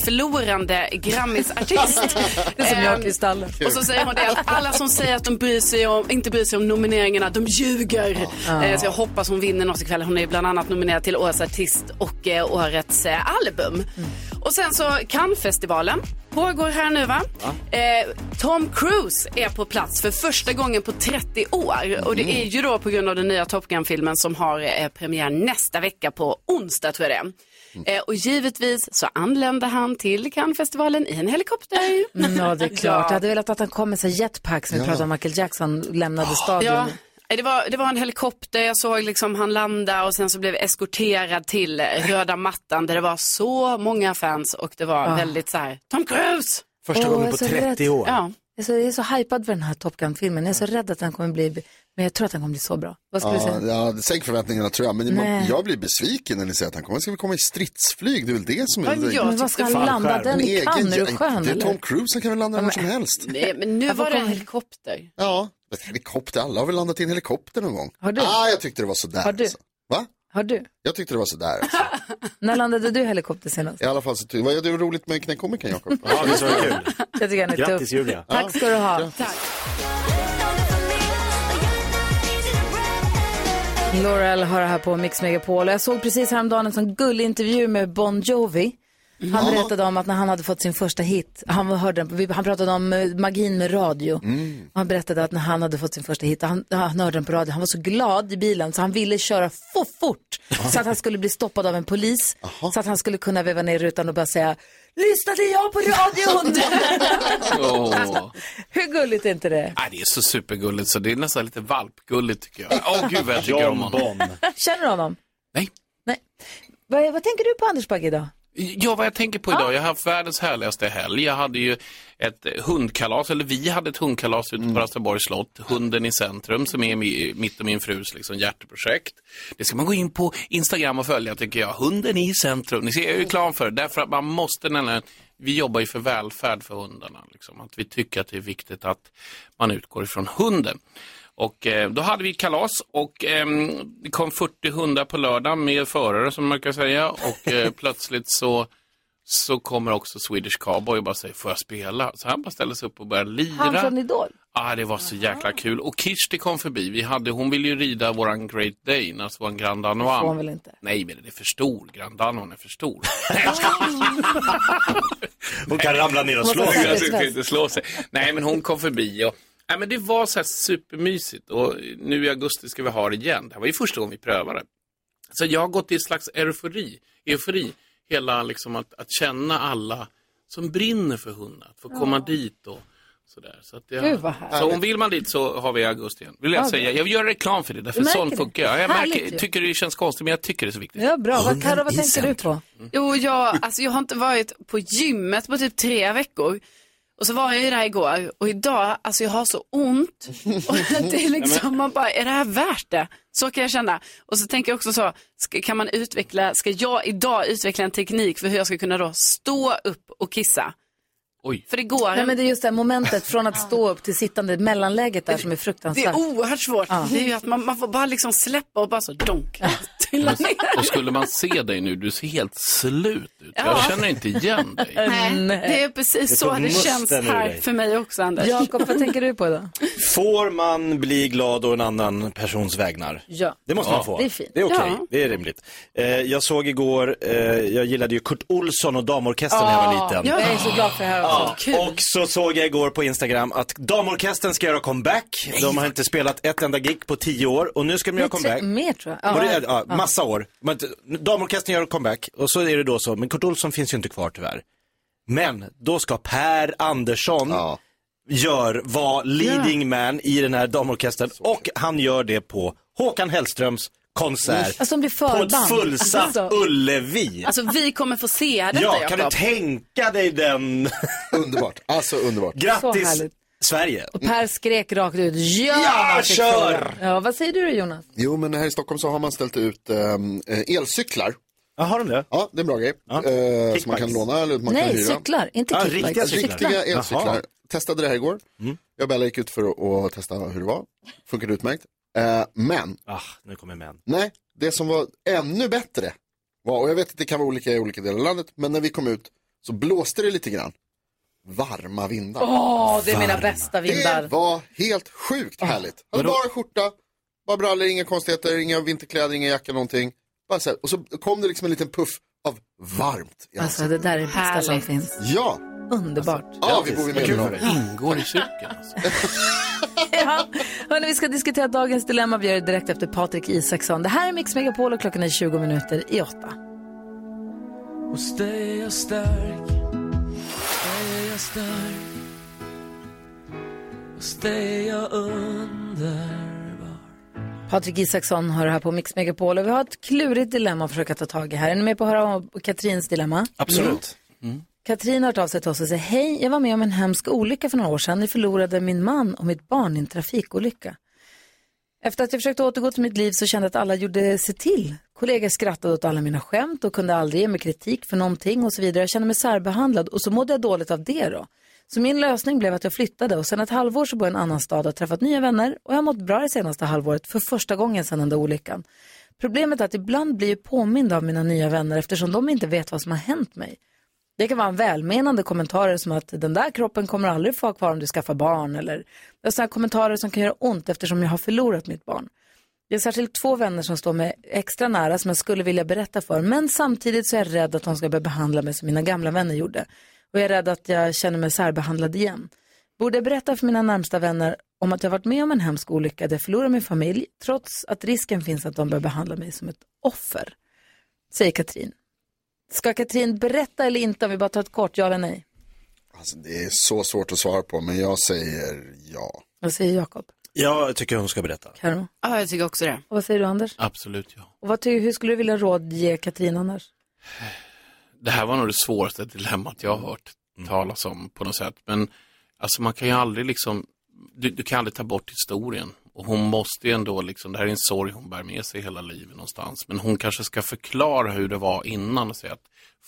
multiförlorande Grammisartist.
[laughs] Det är som jag,
Ehm,
Kristallen.
och så säger hon det att alla som säger att de bryr sig om, inte bryr sig om nomineringarna, de ljuger.
Ja.
Eh, så jag hoppas hon vinner något ikväll. Hon är bland annat nominerad till Årets artist och eh, Årets eh, album.
Mm.
Och sen så Cannes-festivalen pågår här nu va? Eh, Tom Cruise är på plats för första gången på 30 år. Och
Mm.
det är ju då på grund av den nya Top Gun-filmen som har eh, premiär nästa vecka på onsdag tror jag det är.
Mm.
Eh, och givetvis så anländer han till Cannes-festivalen i en helikopter.
Mm, Ja, det är klart. Jag
Ja.
hade velat att han kom med sig jetpack som vi
Ja.
pratade om Michael Jackson lämnade stadion.
Ja, eh, det var, det var en helikopter, jag såg liksom han landa och sen så blev jag eskorterad till eh, röda mattan där det var så många fans och det var
Ja.
väldigt så här, Tom Cruise!
Första Åh, gången jag är på så 30 rädd. år.
Ja.
Jag är så, jag är så hypad för den här Top Gun-filmen. Jag är så rädd att den kommer bli, men jag tror att den kommer bli så bra. Vad ska du
Ja,
säga?
ja, sänk förväntningarna tror jag. Men ni må-
Nej.
jag blir besviken när ni säger att han kommer. Ska vi komma i stridsflyg? Det är väl det som är...
Men jag Men vad ska
typ
tyckte- han landa? Den i
egen
Cannes, är du
jä-
skön,
Det är
eller?
Tom Cruise, han kan väl landa var som helst.
Nej, men nu
Ja,
var
vad
det
kom-
en helikopter.
Ja, men helikopter. Alla har väl landat i en helikopter någon gång?
Har du?
Ah, jag tyckte det var sådär.
Har du?
Alltså. Va?
Har du?
Jag tyckte det var sådär. Alltså.
När landade du i helikopter senast?
I alla fall så tyckte jag... Det var roligt med knäckomikern, Jakob.
Ja, visst var det kul. Jag tycker han är
Grattis,
tuff.
Julia.
Tack ska du ha. Laurel har det här på Mix Megapol och jag såg precis häromdagen en sån gullig intervju med Bon Jovi. Han
Ja.
berättade om att när han hade fått sin första hit, han, hörde, den på- han pratade om eh, magin med radio.
Mm.
Mm.
Han berättade att när han hade fått sin första hit, han, han hörde den på radio, han var så glad i bilen så han ville köra för fort så att han skulle bli stoppad av en polis. Så att han skulle kunna veva ner rutan och bara säga, lyssnade jag på
[laughs]
radion?
Åh.
Hur gulligt är inte det?
Nej, det är så supergulligt så det är nästan lite valpgulligt tycker jag. Åh gud vad jag tycker om honom.
[laughs] Känner du honom?
Nej.
Nej. Vad, vad tänker du på Anders Bagge idag?
Ja, vad jag tänker på idag. Jag har haft världens härligaste helg. Jag hade ju ett eh, hundkalas, eller vi hade ett hundkalas ute på Rastaborgs slott. Hunden i centrum som är mi- mitt och min frus liksom, hjärteprojekt. Det ska man gå in på Instagram och följa tycker jag. Hunden i centrum. Ni ser, jag är reklam för det. Därför att man måste nämligen vi jobbar ju för välfärd för hundarna. Liksom. Att vi tycker att det är viktigt att man utgår ifrån hunden. Och eh, då hade vi kalas och ehm, det kom 40 hundar på lördag med förare som man kan säga och eh, plötsligt så, så kommer också Swedish Cowboy och bara säger får jag spela? Så han bara ställer sig upp och börjar lira.
Han från
[laughs]
Idol?
Ja, ah, det var så jäkla kul. Och Kirsti kom förbi. Vi hade, hon ville ju rida våran Great Dane, alltså våran Grand
Det
Danois.
får han väl inte?
Nej, men den är för stor. Grand Danois är för stor.
Hon kan ramla ner och slå
Nej,
sig.
jag tyckte inte slå sig. Nej, men hon kom förbi och Nej, men det var så här supermysigt och nu i augusti ska vi ha det igen. Det här var ju första gången vi prövade. Så jag har gått i en slags eufori, eufori hela liksom att, att känna alla som brinner för hundar, att få komma dit och sådär. Så, att jag,
Gud, vad härligt.
så om vill man dit så har vi i augusti igen, vill jag
Ja,
säga. Jag gör reklam för det, därför
Du märker
sån
det.
funkar jag. Jag
Härligt
märker,
ju.
tycker det känns konstigt, men jag tycker det är så viktigt.
Ja, bra. Vad, Karo, vad
i
tänker du på?
Jo, jag, alltså, jag har inte varit på gymmet på typ tre veckor. Och så var jag ju där igår och idag, alltså jag har så
[laughs]
ont. Och det är liksom, man bara, är det här värt det? Så kan jag känna. Och så tänker jag också så, ska, kan man utveckla, ska jag idag utveckla en teknik för hur jag ska kunna då stå upp och kissa?
Oj.
För det går.
Nej, men det är just det här momentet från att stå upp till sittande mellanläget där som är
Det
fruktansvärt.
är oerhört svårt.
Ja.
[laughs] Det är ju att man, man får bara liksom släppa och bara så donk. trilla ner.
Och skulle man se dig nu, du ser helt slut ut.
Ja.
Jag känner inte
[laughs]
igen dig.
Nej, det är precis
Det
så
tog
det känns
musten ur
här
dig.
för mig också, Anders.
Jakob, vad tänker du på
[laughs]
då?
Får man bli glad å en annan persons vägnar?
Ja.
Det måste man få.
Det är fint.
Det är okej,
Ja.
det är rimligt. Eh, jag såg igår, eh, jag gillade ju Kurt Olsson och damorkestern när jag var liten.
Jag är så glad för det här också.
Ja, och så såg jag igår på Instagram att damorkestern ska göra comeback. De har inte spelat ett enda gig på tio år och nu ska de göra
Lite
comeback.
Mer tror jag.
Var det, ja, massa år. Men, t- damorkestern gör comeback och så är det då så, men Kurt Olsson finns ju inte kvar tyvärr. Men då ska Per Andersson gör, var leading man i den här damorkestern och han gör det på Håkan Hellströms konsert.
Alltså, om det är förband.
På ett fullsatt
Alltså.
Ullevi.
Alltså vi kommer få se detta,
ja, kan du
Jakob.
tänka dig den?
underbart, alltså underbart.
Så
Grattis
härligt.
Sverige.
Och Per skrek rakt ut, ja!
Ja,
Fick
kör!
frågan. Ja, vad säger du då, Jonas?
Jo, men här i Stockholm så har man ställt ut ehm, eh, elcyklar.
Ja, har de det?
Ja, det är en bra grej. Eh, som man kan låna eller man
Nej,
kan hyra.
cyklar, inte Ja, kickbikes. riktiga cyklar.
Riktiga elcyklar.
Jaha.
Testade det här igår. Jag och Bella gick ut för att och testa hur det var. Funkade utmärkt. Eh, men,
Ah, nu kommer män.
nej, det som var ännu bättre var, och jag vet att det kan vara olika i olika delar av landet, men när vi kom ut så blåste det lite grann. Varma vindar.
Åh, det är mina bästa vindar. Ah.
Det var helt sjukt härligt. Hade bara skjorta, bara brallor, inga konstigheter, inga vinterkläder, ingen jacka, någonting. Bara så här. Och så kom det liksom en liten puff av varmt. i
Alltså det där är det bästa som finns.
Ja,
Underbart. [laughs]
ja vi bor i
Vad kul för
Medelhavet. Ingår i cykeln alltså.
ja. Hörrni, vi ska diskutera dagens dilemma. Vi gör det direkt efter Patrik Isaksson. Det här är Mix Megapol och klockan är 20 minuter i åtta.
Hos dig är jag stark, hos dig är jag stark Hos dig är jag underbar
Patrik Isaksson har det här på Mix Megapol och vi har ett klurigt dilemma att försöka ta tag i här. Är ni med på att höra om Katrins dilemma?
Absolut.
Mm. Katrin har hört av sig till oss och säger Hej, jag var med om en hemsk olycka för några år sedan. Ni förlorade min man och mitt barn i en trafikolycka. Efter att jag försökte återgå till mitt liv så kände jag att alla gjorde sig till. Kollegor skrattade åt alla mina skämt och kunde aldrig ge mig kritik för någonting och så vidare. Jag kände mig särbehandlad och så mådde jag dåligt av det då. Så min lösning blev att jag flyttade och sedan ett halvår så bor jag i en annan stad och har träffat nya vänner och jag har mått bra det senaste halvåret för första gången sedan den där olyckan. Problemet är att ibland blir jag påmind av mina nya vänner eftersom de inte vet vad som har hänt mig. Det kan vara en välmenande kommentarer som att den där kroppen kommer aldrig få ha kvar om du skaffar barn eller det är sådana kommentarer som kan göra ont eftersom jag har förlorat mitt barn. Det är särskilt två vänner som står mig extra nära som jag skulle vilja berätta för men samtidigt så är jag rädd att de ska börja behandla mig som mina gamla vänner gjorde och jag är rädd att jag känner mig särbehandlad igen. Borde jag berätta för mina närmsta vänner om att jag varit med om en hemsk olycka där jag förlorar min familj trots att risken finns att de börjar behandla mig som ett offer? Säger Katrin. Ska Katrin berätta eller inte om vi bara tar ett kort ja eller nej?
Alltså, det är så svårt att svara på, men jag säger ja.
Vad säger Jakob?
Jag tycker hon ska berätta.
Karo?
Ja, jag tycker också det.
Och vad säger du Anders?
[laughs] Absolut ja.
Och vad tycker, hur skulle du vilja råd ge Katrin annars?
Det här var nog det svåraste dilemmat jag har hört
Mm.
talas om på något sätt. Men alltså man kan ju aldrig liksom, du, du kan aldrig ta bort historien. Och hon måste ju ändå liksom, det här är en sorg hon bär med sig hela livet någonstans. Men hon kanske ska förklara hur det var innan och säga att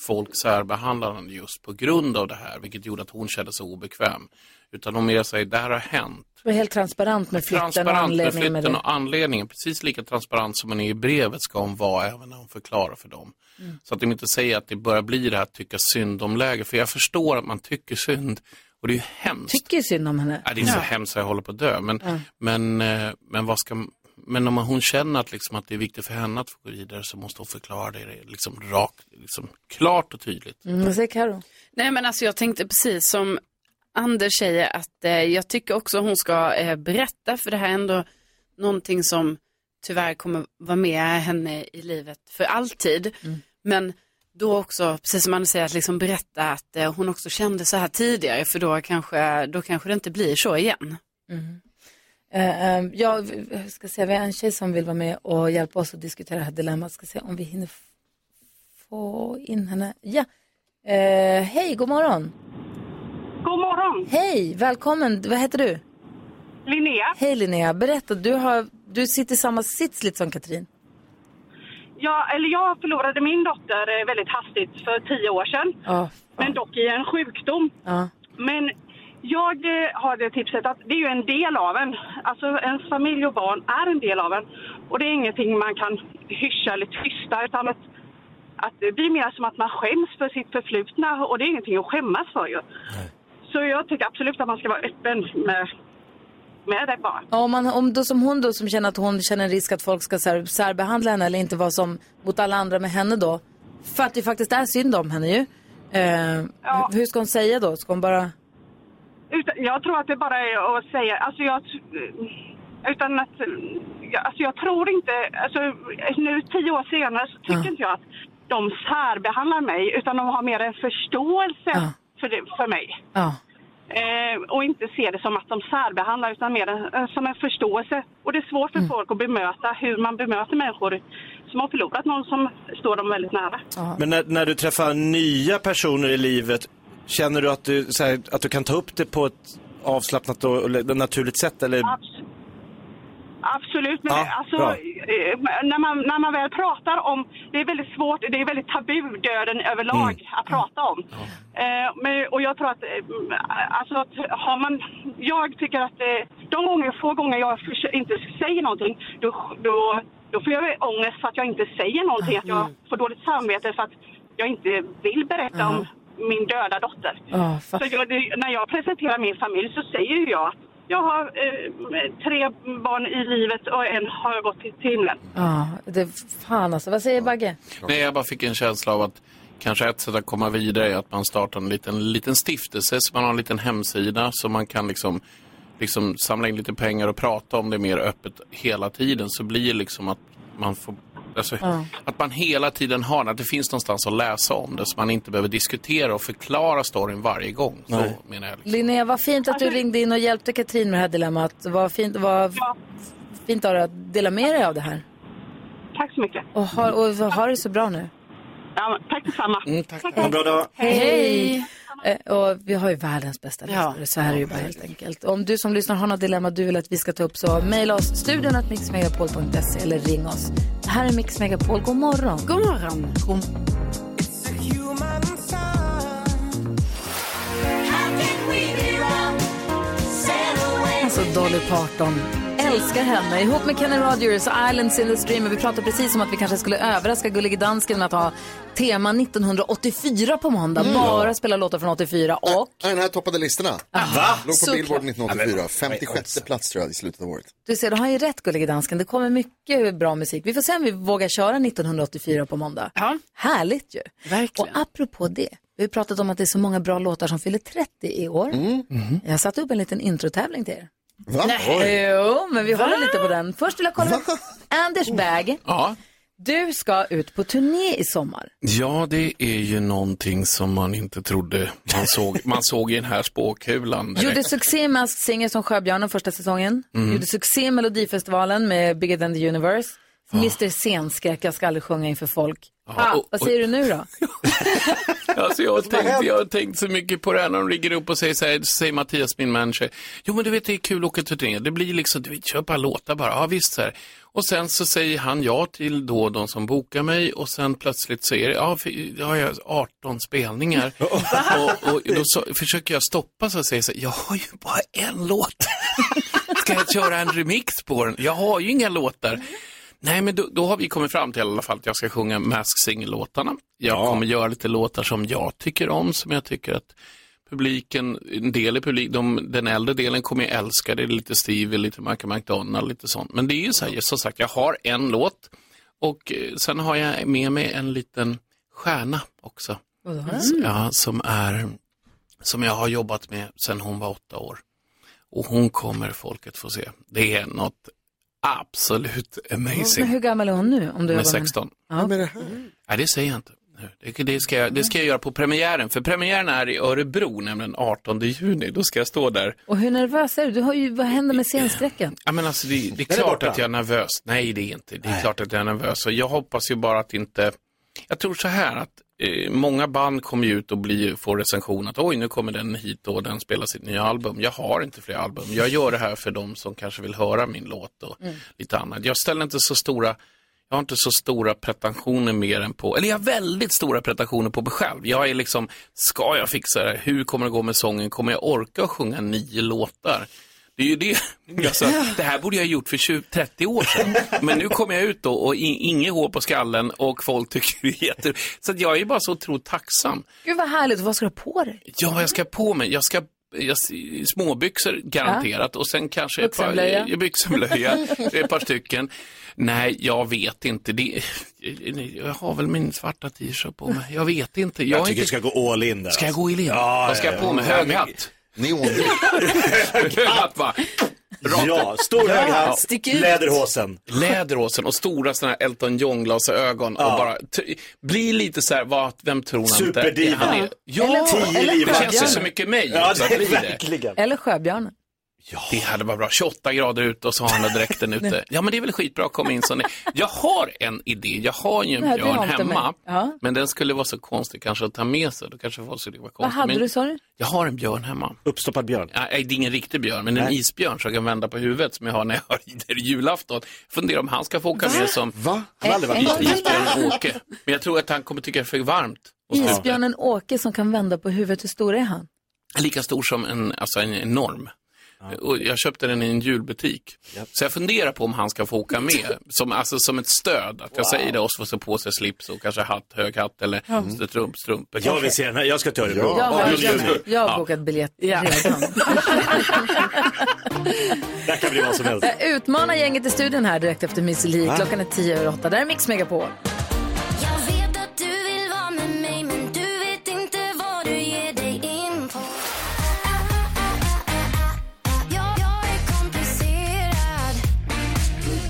folk särbehandlade henne just på grund av det här, vilket gjorde att hon kände sig obekväm. Utan om jag säger, det här har hänt.
Vara helt transparent med flytten och
Transparent med
anledningen med
flytten
det.
och anledningen, precis lika transparent som hon är i brevet ska hon vara även när hon förklarar för dem.
Mm.
Så att de inte säger att det börjar bli det här tycka synd om läge. För jag förstår att man tycker synd och det är ju hemskt.
Tycker ju synd om henne.
Ja, det är så hemskt att jag håller på att dö. Men,
Ja.
men, eh, men, vad ska, men om hon känner att, liksom, att det är viktigt för henne att få gå vidare så måste hon förklara det liksom, rakt, liksom, klart och tydligt.
Mm, vad säger Karo?
Nej men alltså jag tänkte precis som Anders säger att eh, jag tycker också hon ska eh, berätta för det här är ändå någonting som tyvärr kommer vara med henne i livet för alltid.
Mm.
Men då också, precis som Anders säger, att liksom berätta att eh, hon också kände så här tidigare för då kanske, då kanske det inte blir så igen.
Eh, eh, ja, vi- vi ska se, vi har en tjej som vill vara med och hjälpa oss att diskutera det här dilemmat. Ska se om vi hinner f- [laughs] få in henne. Ja, Eh, hej, god morgon.
God morgon.
Hej, välkommen. Vad heter du?
Linnea.
Hej Linnea, berätta, du, har, du sitter i samma sits lite som Katrin.
Jag, eller jag förlorade min dotter eh, väldigt hastigt för tio år sedan,
Ja,
men dock i en sjukdom.
ja.
Men jag eh, har det tipset att det är ju en del av en. Alltså ens familj och barn är en del av en. Och det är ingenting man kan hyscha eller tysta utan att, att det blir mer som att man skäms för sitt förflutna och det är ingenting att skämmas för ju. Så jag tycker absolut att man ska vara öppen med, med det bara.
Ja, Om, man, om då som hon då som känner att hon känner en risk att folk ska sär, särbehandla henne eller inte vara som mot alla andra med henne då. För att det faktiskt är synd om henne ju. Eh, hur- Hur ska hon säga då? Ska hon bara...
Utan, jag tror att det bara är att säga, alltså jag... Utan att... ja, Alltså jag tror inte, alltså nu tio år senare så tycker inte jag att de särbehandlar mig utan de har mer en förståelse för, det, för mig.
Ja.
Eh, och inte ser det som att de särbehandlar utan mer en, eh, som en förståelse. Och det är svårt för folk att bemöta hur man bemöter människor som har förlorat någon som står dem väldigt nära.
Men när, när du träffar nya personer i livet, känner du att du, så här, att du kan ta upp det på ett avslappnat och och naturligt sätt? Eller?
Absolut, men
Ja,
det- alltså,
bra.
eh, när, man, när man väl pratar om... Det är väldigt svårt, det är väldigt tabu, döden överlag,
Mm.
att prata om. Eh, men, och jag tror att... eh, mm, Alltså, att har man, jag tycker att eh, de gånger, få gånger jag förs- inte säger någonting, då, då, då får jag ångest för att jag inte säger någonting. Att jag får dåligt samvete för att jag inte vill berätta om min döda dotter.
Ja, fa-
Så jag, det- när jag presenterar min familj så säger ju jag att jag har eh, tre barn i livet och en har gått till till himlen.
Ja, det, fan alltså. Vad säger Bagge?
Nej, jag bara fick en känsla av att kanske ett sätt att komma vidare är att man startar en liten, liten stiftelse, så man har en liten hemsida så man kan liksom, liksom samla in lite pengar och prata om det mer öppet hela tiden. Så blir det liksom att man får Alltså,
Ja.
Att man hela tiden har att det finns någonstans att läsa om det så man inte behöver diskutera och förklara storyn varje gång. Så menar jag.
Linnea, vad fint att du
Alltså-
ringde in och hjälpte Katrin med det här dilemmat. Vad fint, vad fint av dig att dela med dig av det här.
Tack så mycket.
Och ha, och ha det så bra nu.
Ja, men tack detsamma.
tack.
Mm, Ha en bra dag.
Hej! Eh, Och vi har ju världens bästa lyssnare, så här är det ju bara helt enkelt. Om du som lyssnar har något dilemma du vill att vi ska ta upp så mejla oss studion att mixmegapol.se eller ring oss. Det här är Mix Megapol, god morgon. God morgon. Alltså Dolly Parton. Älskar henne. Ihop med Kenny Rogers och Islands in the Stream. Och Vi pratade precis om att vi kanske skulle överraska Gullige Dansken med att ha tema 1984 på måndag.
Mm.
Bara spela låtar från 84 och...
Nej, den här toppade listorna.
Va?
Låg på
Såklart.
Billboard 1984. 56 plats tror jag i slutet av året.
Du ser, du har ju rätt Gullige Dansken. Det kommer mycket bra musik. Vi får se om vi vågar köra 1984 på måndag. Härligt ju. Verkligen. Och apropå det. Vi har pratat om att det är så många bra låtar som fyller 30 i år.
Mm.
Jag satte upp en liten introtävling till er.
Va?
Nej. Jo, men vi håller lite på den. Först vill jag kolla med Anders Bag.
Ja.
Du ska ut på turné i sommar.
Ja, det är ju någonting som man inte trodde man såg, man såg i den här spåkulan.
Gjorde succé med Ask Singer som Sjöbjörnen första säsongen.
Mm.
Gjorde succé med Melodifestivalen med Bigger than the universe.
Ah.
Mr Scenskräck, jag ska aldrig sjunga inför folk. ah, vad säger du nu då?
Alltså jag, har tänkt, jag har tänkt så mycket på det här när de ringer upp och säger så här, så säger Mattias, min manager, jo men du vet det är kul att åka till turné, det blir liksom, du vet, kör bara låtar bara, ja visst så här. Och sen så säger han ja till då de som bokar mig och sen plötsligt så är det, ja, för, jag har jag 18 spelningar. och, och då så, försöker jag stoppa så och säger så här, jag har ju bara en låt. Ska jag köra en remix på den? Jag har ju inga låtar. Nej, men då, då har vi kommit fram till i alla fall att jag ska sjunga Mask Singer-låtarna. Jag kommer göra lite låtar som jag tycker om, som jag tycker att publiken, en del i publiken, de, den äldre delen kommer ju älska. Det är lite Stevie, lite Michael McDonald, lite sånt. Men det är ju så här, som sagt, jag har en låt och eh, sen har jag med mig en liten stjärna också. S-
Mm.
Ja, som, är, som jag har jobbat med sedan hon var åtta år. Och hon kommer folket få se. Det är något absolut
Men hur
amazing.
gammal är hon nu? Om du
Hon är
jobbar med-
16.
Ja.
Nej, det säger jag inte. nu. Det, det, ska jag, det ska jag göra på premiären, för premiären är i Örebro, nämligen 18 juni. Då ska jag stå där.
Och hur nervös är du? du har ju, vad händer med scenskräcken?
Ja, men alltså, det, det är
det
klart
borta?
att jag är nervös. Nej, det är inte. Det är klart att jag är nervös. Och jag hoppas ju bara att inte... Jag tror så här att eh, många band kommer ju ut och blir, får recension att oj, nu kommer den hit och den spelar sitt nya album. Jag har inte fler album. Jag gör det här för de som kanske vill höra min låt och
Mm.
lite annat. Jag ställer inte så stora... Jag har inte så stora pretensioner mer än på, eller jag har väldigt stora pretensioner på mig själv. Jag är liksom, ska jag fixa det? här? Hur kommer det gå med sången? Kommer jag orka sjunga nio låtar? Det är ju det. [laughs] Alltså, det här borde jag ha gjort för 20, 30 år sedan. Men nu kommer jag ut då och i- inget hår på skallen och folk tycker det är jätte... Så att jag är bara så otroligt tacksam.
Gud vad härligt, vad ska du ha på dig?
Ja, vad jag ska på mig. Jag ska jag, småbyxor garanterat och sen kanske ett par,
Byxenblöja.
[laughs] eh, byxenblöja, ett par stycken. Nej, jag vet inte. Det, jag har väl min svarta t-shirt på mig. Jag vet inte.
Jag,
är
tycker
inte...
du ska gå all in där.
Ska jag
alltså.
gå i lin?
Ja,
Vad ska
ja,
jag
ja.
på mig? Hög hatt?
Mm.
[laughs]
Hög hatt va? Rakt
Ja,
upp.
stor hög hatt,
Stick ut.
läderhosen.
Läderhosen och stora sådana här Elton John-glasögon och bara t- bli lite så här, vad, vem tror han
Superdiva.
inte han är? Ja,
Eller-
Tio
eller
livvakter. det känns ju så
Sjöbjörnen.
mycket mig.
Ja,
också att
det-
bli
verkligen.
Eller Sjöbjörnen.
Det hade varit bra. 28 grader ute och så har han den
[laughs]
dräkten ute. Ja, men det är väl skitbra att komma in som det. Jag har en idé. Jag har ju en
Nej, det har
björn
inte mig.
hemma.
Ja.
Men den skulle vara så konstig kanske att ta med sig. Då kanske folk skulle vara
Vad
konstig.
hade
men...
du, sa du?
Jag har en björn hemma.
Uppstoppad björn?
Nej, det är ingen riktig björn, men en
Nej.
isbjörn som jag kan vända på huvudet som jag har när jag har [laughs] rider julafton. Funderar om han ska få åka med som
Va?
Han har aldrig varit med.
isbjörn Åke. Men jag tror att han kommer tycka det är för varmt. Och så-
Isbjörnen Åke som kan vända på huvudet, hur stor är han?
Lika stor som en, alltså en enorm. Och jag köpte den i en julbutik. Så jag funderar på om han ska få
[laughs]
åka med. Som, alltså, som ett stöd. Att jag säger det och så får se på sig slips och kanske hatt, hög hatt eller mm. strump, strumpor.
Jag vill se den här. Jag ska till Örebro.
Jag har,
just det.
jag har bokat biljett redan.
Där kan bli vad
[laughs]
som helst.
Jag utmanar Äh, gänget i studion här direkt efter Miss Li. Klockan är tio över åtta. Där är Mix Megapol.
Jag vet att du vill vara med mig men du vet inte vad du ger dig in på Jag, jag är komplicerad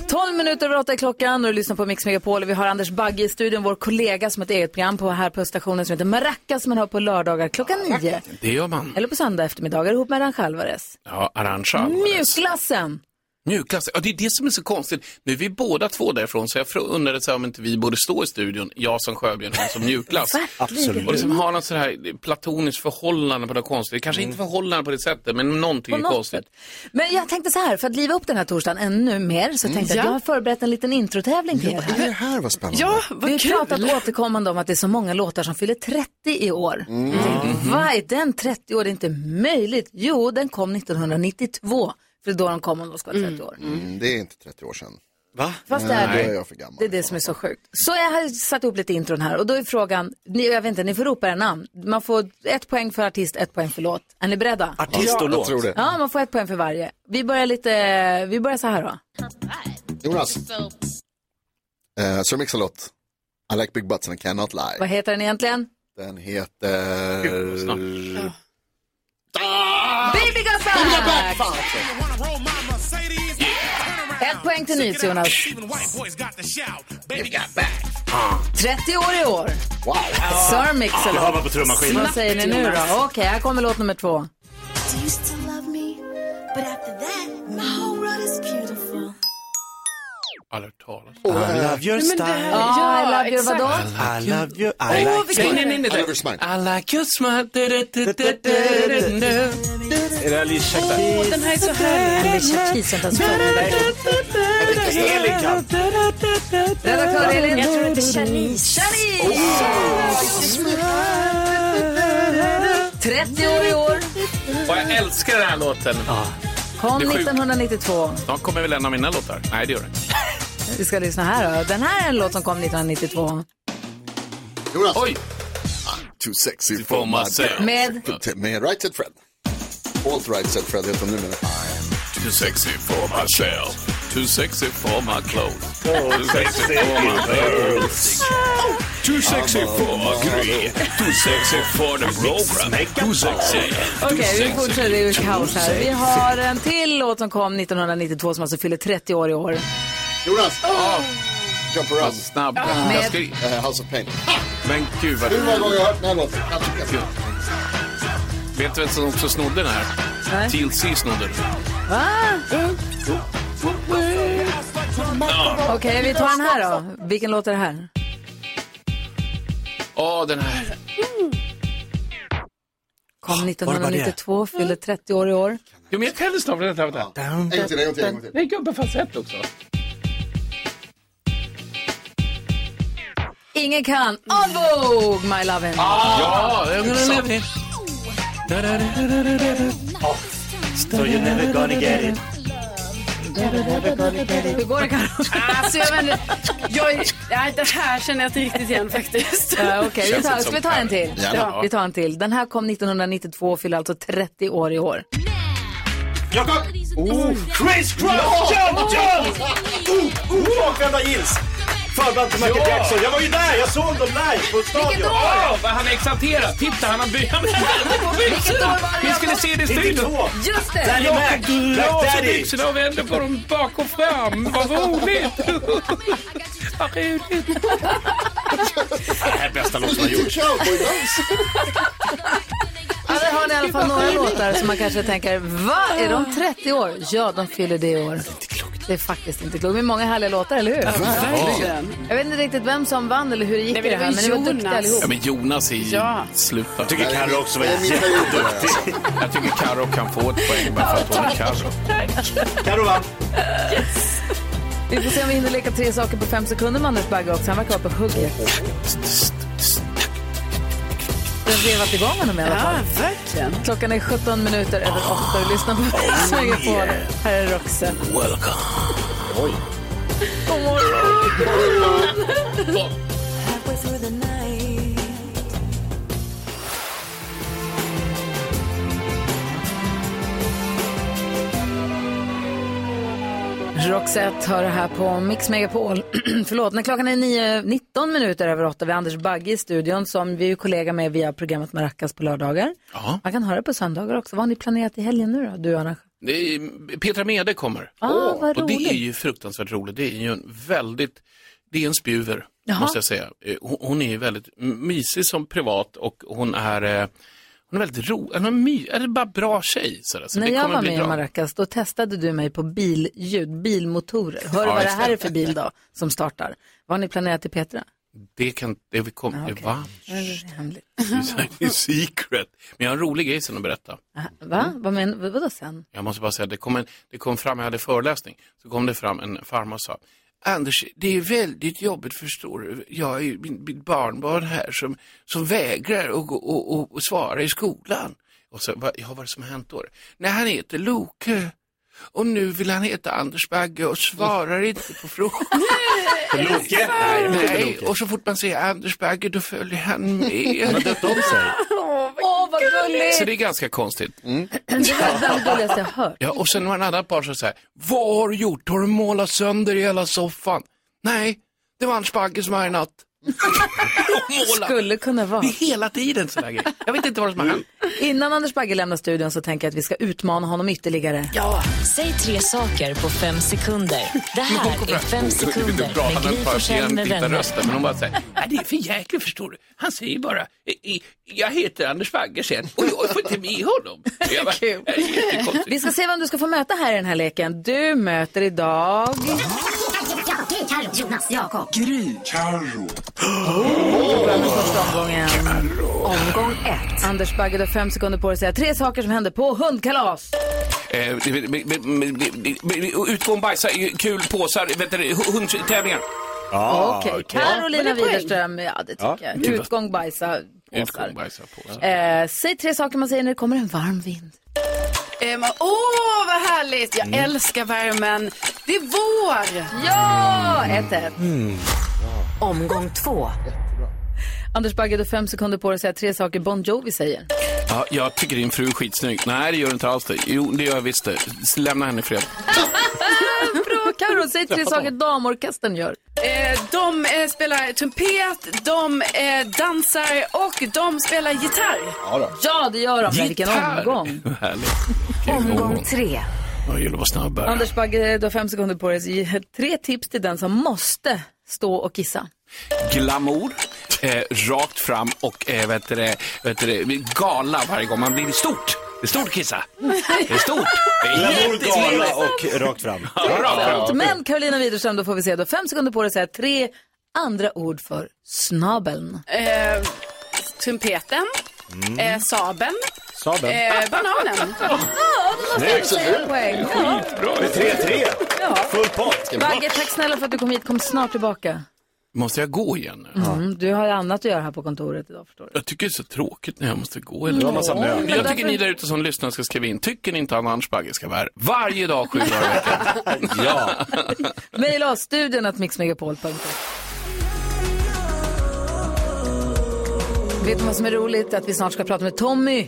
12 minuter över åtta är klockan och du lyssnar på Mix Megapol. Vi har Anders Bagge i studion, vår kollega som har ett eget program på här på stationen som heter Maracas som man hör på lördagar klockan nio.
Det gör man.
Eller på söndag eftermiddagar ihop med Arantxa Alvarez.
Ja, arrangör.
Mjukglassen!
Mjukglass. Ja, det är det som är så konstigt. Nu är vi båda två därifrån, så jag fr- undrade så här om inte vi borde stå i studion, jag som Sjöbjörn, hon som mjukglass.
Absolut.
Och liksom ha något sådär här platoniskt förhållande på något konstigt.
Mm.
Kanske inte förhållande på det sättet, men någonting
På
är
något
konstigt.
Men jag tänkte så här, för att liva upp den här torsdagen ännu mer så tänkte jag att jag har förberett en liten introtävling till er.
Mm. Vad är det här vad spännande?
Vi har pratat återkommande om att det är så många låtar som fyller 30 i år.
Mm.
Vad är den 30 år? Det är inte möjligt. Jo, den kom 1992. För det är då de kom om de ska vara 30 år.
Mm, det är inte 30 år sedan.
Va?
Fast det
Nej,
är
då
det.
är jag för gammal.
Det är det som är så sjukt. Så jag har satt upp lite intron här och då är frågan, ni, jag vet inte, ni får ropa era namn. Man får ett poäng för artist, ett poäng för låt. Är ni beredda?
Artist och Ja, jag låt. tror det.
Ja, man får ett poäng för varje. Vi börjar lite, vi börjar så här då.
Jonas, eh, Sir Mix-a-Lot. I like big butts and I cannot lie.
Vad heter den egentligen?
Den heter... Ah!
Baby Got Back! Ett poäng till Nils, Jonas. 30 år i år.
Wow.
Sir Mix-a-Lot.
Ah,
Det hör man på trummaskinen.
Vad säger ni nu då? Okej, här kommer låt nummer två.
Do you still love me? But after that my whole world is beautiful
Aldrig hört talas
I love your
Nej, men det
style.
här-
Ja,
Ja,
I love you,
exakt.
vadå?
I love you,
Åh,
I like
vilken-
you.
Nej, nej, nej, nej.
I love your smile.
I like your smile. Du, du, du, du, du, du, du.
Är det Alicia Keys?
Den här är så härlig.
Alicia Keys har inte ens funnits.
Angelica.
Redaktör Elin.
Jag tror inte Shanice.
Shanice! 30 år i år.
Och jag älskar den här låten.
Kom
Det är sjukt.
1992.
Snart kommer väl en av mina låtar? Nej, det gör den inte.
Vi ska lyssna här då. Den här är en låt som kom 1992.
Jonas.
Oj.
Ah, Too sexy
får
for
man
my
säga.
bed.
Med?
Med Right Said Fred. Alt Right Said Fred heter den numera.
Too sexy for my shell. Too sexy for my clothes. Too sexy for my pearls. Too sexy for my green. Too sexy for the program. Too sexy.
Okej, vi fortsätter. Det är ju kaos här. Vi har en till låt som kom 1992 som alltså fyller 30 år i år.
Jonas.
Ah.
Jump around.
Alltså, Snabb.
Med-
Jag ska-
Eh, House of Pain. Ha!
Men gud vad...
Hur många gånger har jag hört den här låten? Jag tycker att-
Vet du vem som också snodde den här?
Nej.
TLC snodde den.
Oh.
Va? Okej, vi tar den här då. Vilken låt är det här?
Åh, den här.
Kom 1992, fyller 30 år i år.
Jo, men jag kan lyssna på den. Vänta, vänta.
En gång till, en gång till, en gång till.
Nej, gubben falsett också.
Ingen kan. On Vogue, My Lovin'.
Ah,
Ja, jag har den.
So you're never gonna get it.
Hur går det Karo?
Alltså jag vet inte, jag, nej, det här känner jag inte riktigt igen faktiskt.
Ja, Okej, vi tar, ska vi ta en till?
Ja.
Vi tar en till. Den här kom 1992 och fyller alltså 30 år i år.
Jakob! Oh. Chris Cross! Jump, jump! Oh, oh, bakvända gills! Förband till Michael
Ja.
Jackson. Jag var ju där, jag såg dem live på stadion.
Åh, vad han är exalterad! Titta, han har bytt han vänder på
Vilket år
byxorna!
var det,
Vi skulle
Jakob?
se det i studion.
92.
Just det!
Daddy Mac,
Jakob
Black
la sig
Daddy.
byxorna
och vände på dem bak och fram. Vad roligt! Vad roligt!
Det här är bästa låten jag har gjort.
Ja, där har ni i alla fall några låtar som man kanske tänker, va? Är de 30 år? Ja, de fyller det i år. Det är faktiskt inte klokt. Men många härliga låtar, eller hur?
Ja, verkligen.
Jag vet inte riktigt vem som vann eller hur det gick
Nej,
i
men
det
det
här,
var
men ni var duktiga
Jonas.
allihop.
Ja, men Jonas är ju
Ja.
slut. Jag
tycker Karo också var jätteduktig.
Jag tycker Karo kan få ett poäng bara för att hon är Karo.
Karo vann.
Vi får se om vi hinner leka tre saker på fem sekunder med Anders Bagge också. Han verkar vara på hugget. Vi har vevat igång honom i alla fall.
Ja, verkligen.
Klockan är 17 minuter över 8 och lyssna på Mix
Oh,
Megapol. Här är Roxette.
Welcome.
Oj.
God morgon! Roxette hör det här på Mix Megapol. [clears throat] Förlåt, när klockan är 9, 19 minuter över 8 vi har Anders Bagge i studion som vi är ju kollega med via programmet Maracas på lördagar. Man kan höra det på söndagar också. Vad har ni planerat i helgen nu då, du och Anna?
Det är, Petra Mede kommer.
Ah, vad
och det är
roligt.
ju fruktansvärt roligt. Det är ju en väldigt, det är en spjuver,
Jaha.
måste jag säga. Eh, Hon, hon är ju väldigt m- mysig som privat och hon är, eh, hon är väldigt rolig, hon är, my, är det bara bra tjej. Sådär. Så
När
Alltså, det
jag
kommer
var
bli
med i
bra.
Maracas då testade du mig på billjud, bilmotorer. Hör du
Ja,
vad det
just
här
det.
är för bil då som startar? Vad har ni planerat till Petra?
Det kan, det vi kom,
Ja, Ah,
okay.
okej.
va? [laughs]
Är det hemligt?
Det är secret. Men jag har en rolig grej sen att berätta.
Aha, Va? Vad menar du? Vadå sen?
Jag måste bara säga, det kom, en, det kom fram, jag hade föreläsning, så kom det fram en farmor och sa, Anders, det är väldigt jobbigt förstår du. Jag är ju min- mitt barnbarn här som, som vägrar att gå- och, och, och svara i skolan. Och så, vad, ja, vad är det som har hänt då? Nej, han heter Loke. Och nu vill han heta Anders Bagge och svarar inte på frågor.
Loke? Nej, han heter
Nej,
Loke.
och så fort man säger Anders Bagge då följer han med.
Han har döpt om sig.
Åh, vad gulligt!
Så det är ganska konstigt. Mm.
Det var bland det gulligaste jag hört.
Ja, och sen var det en annan par som sa, vad har du gjort? Har du målat sönder hela soffan? Nej, det var Anders Bagge som var här i natt.
Skulle kunna vara.
Det är hela tiden sådana grejer. Jag vet inte vad som har hänt.
Innan Anders Bagge lämnar studion så tänker jag att vi ska utmana honom ytterligare.
Ja. Säg tre saker på fem sekunder. Det här är fem sekunder med Gry Forssell med vänner.
rösten, men hon bara säger, nej det är för jäkligt förstår du. Han säger bara, "I- i- jag heter Anders Bagge sen och jag får inte med honom. Och Jag bara, "Det är jättekonstigt."
Vi ska se vem du ska få möta här i den här leken. Du möter idag...
Jonas, Jakob.
Gry. Carro. första omgången. Omgång ett. Anders Bagge, du har fem sekunder på dig att säga tre saker som hände på hundkalas.
Eh, men- men- men- men- men- men- Utgång, bajsa, i kul, påsar, vet du, hundtävlingar.
Okej, Carolina Widerström. Ja, det
Ah, Ja,
tycker jag.
kul.
Utgång, bajsa, påsar.
Utgång, bajsa, påsar.
Eh, säg tre saker man säger när det kommer en varm vind.
Ehm, Åh, vad härligt! Jag
Mm.
älskar värmen. Det är vår!
Ja, ett, ett.
Mm. Omgång två.
Anders Bagge, du har fem sekunder på dig att säga tre saker Bon Jovi säger.
Ja, jag tycker din fru är skitsnygg. Nej, det gör du inte alls det. Jo, det gör jag visst det. S- Lämna henne i fred.
Bra, [laughs] Carro. Säg tre saker damorkestern gör.
Eh, de eh, spelar trumpet, de eh, dansar och de spelar gitarr.
Ja, det gör de. Men vilken
Gitarr.
omgång.
Vad Härligt.
Omgång tre.
Jag gillar att vara snabbare.
Anders Bagge, du har fem sekunder på dig. Så ge Tre tips till den som måste stå och kissa.
Glamour, eh, rakt fram och eh, vet du, det, vet du, det, gala varje gång. Man blir stort. Det är stort kissa. Det är stort. Det är
Glamour,
jättesmidigt.
gala och rakt fram.
Ja, rakt fram.
Men Carolina Widerström, då får vi se. Du har fem sekunder på dig att säga tre andra ord för snabeln.
Eh, trumpeten, eh, sabeln, eh, bananen.
Snyggt! Säga poäng. Ja.
Det är 3-3. Full pott.
Bagge, tack snälla för att du kom hit. Kom snart tillbaka.
Måste jag gå igen nu?
Mm, du har ju annat att göra här på kontoret idag förstår
Jag tycker det är så tråkigt när jag måste gå.
Du har massa
jag
möten.
tycker ni där ute som lyssnar ska skriva in, tycker ni inte Anna Arnsbagge ska vara här varje dag sju dagar i veckan? [laughs] ja.
du. Mejla oss, studion att mixmegapol.se. Vet du vad som är roligt? Att vi snart ska prata med Tommy.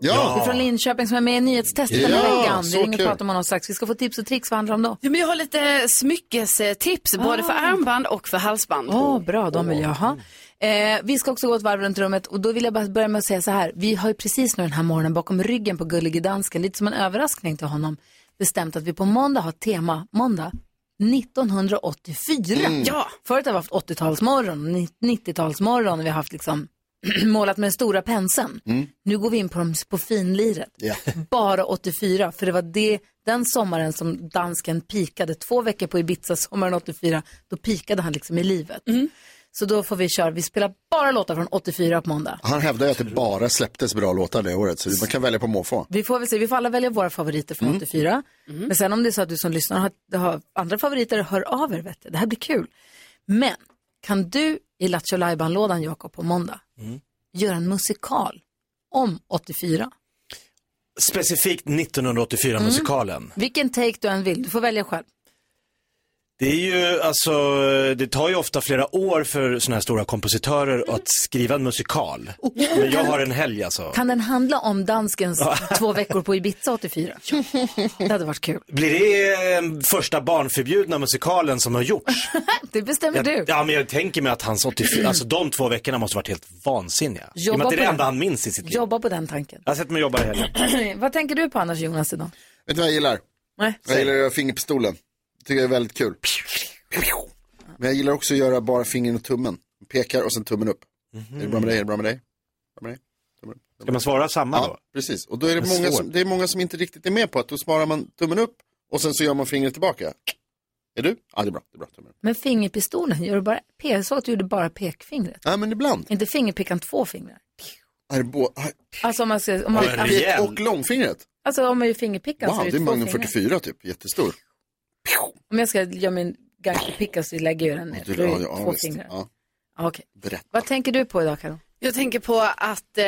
Ja.
Det är från Linköping som är med i nyhetstestet den här
Ja,
veckan.
så
Vi ringer och
kul.
pratar med honom strax. Vi ska få tips och tricks. Vad handlar det om Ah. då?
Ja, men jag har lite smyckestips, både för armband och för halsband.
Åh, bra. De vill jag ha. Eh, vi ska också gå ett varv runt rummet och då vill jag bara börja med att säga så här. Vi har ju precis nu den här morgonen bakom ryggen på Gullige Dansken, lite som en överraskning till honom, bestämt att vi på måndag har tema, måndag, 1984.
Mm. Ja.
Förut har vi haft 80-talsmorgon, 90-talsmorgon och vi har haft liksom [clears throat] målat med den stora penseln. Nu går vi in på, de, på finliret. [laughs]
Ja.
Bara 84, för det var det, den sommaren som dansken pikade. Två veckor på Ibiza sommaren 84, då pikade han liksom i livet. Så då får vi köra, vi spelar bara låtar från 84 på måndag.
Han hävdar ju att det bara släpptes bra låtar det året, så man kan välja på måfå.
Vi får väl se, vi får alla välja våra favoriter från 84. Men sen om det är så att du som lyssnar har, har andra favoriter, hör av er vet du. Det här blir kul. Men kan du i Lattjo Lajban-lådan, Jakob, på måndag, göra en musikal om 84?
Specifikt 1984-musikalen.
Vilken take du än vill, du får välja själv.
Det är ju, alltså, det tar ju ofta flera år för sådana här stora kompositörer att skriva en musikal. Men jag har en helg alltså.
Kan den handla om danskens [laughs] två veckor på Ibiza
[laughs]
84? Det hade varit kul.
Blir det eh, första barnförbjudna musikalen som har gjorts?
Det bestämmer du.
Jag, ja, men jag tänker mig att hans 84, alltså de två veckorna måste varit helt vansinniga. I och
Jobba
med att det är
på
det
det.
enda han minns i sitt liv.
Jobba på den [clears throat] tanken.
Jag har sett mig jobba i helgen.
Vad tänker du på annars Jonas idag?
Vet du vad jag gillar?
Nej.
Jag gillar att göra fingerpistolen. Det tycker jag är väldigt kul. Men jag gillar också att göra bara fingern och tummen. Pekar och sen tummen upp. Är det bra med dig? Är det bra med dig? Bra med dig? Tummen upp.
Ska man svara samma
ja,
då?
precis. Och då är det,
Men
många
svårt.
som, det är många som inte riktigt är med på att då svarar man tummen upp och sen så gör man fingret tillbaka. Är du? Ja, det är bra. Det är bra. Tummen upp.
Men fingerpistolen, gör du bara, jag såg att du gjorde bara pekfingret.
Ja, men ibland.
Inte fingerpickan, två fingrar.
Är det bo- ah,
Alltså om man ska, om man,
pek
alltså,
och långfingret?
alltså om man gör fingerpickan så
Wow,
är
det
det
är
två
Magnum
fingrar.
44 typ. Jättestor.
Om jag ska göra min gangsterpicka så lägger jag den ner.
Du,
Då är det
ja, ja,
två
visst.
fingrar.
Ja,
Ja, okej.
berätta.
Vad tänker du på idag Karo?
Jag tänker på att eh,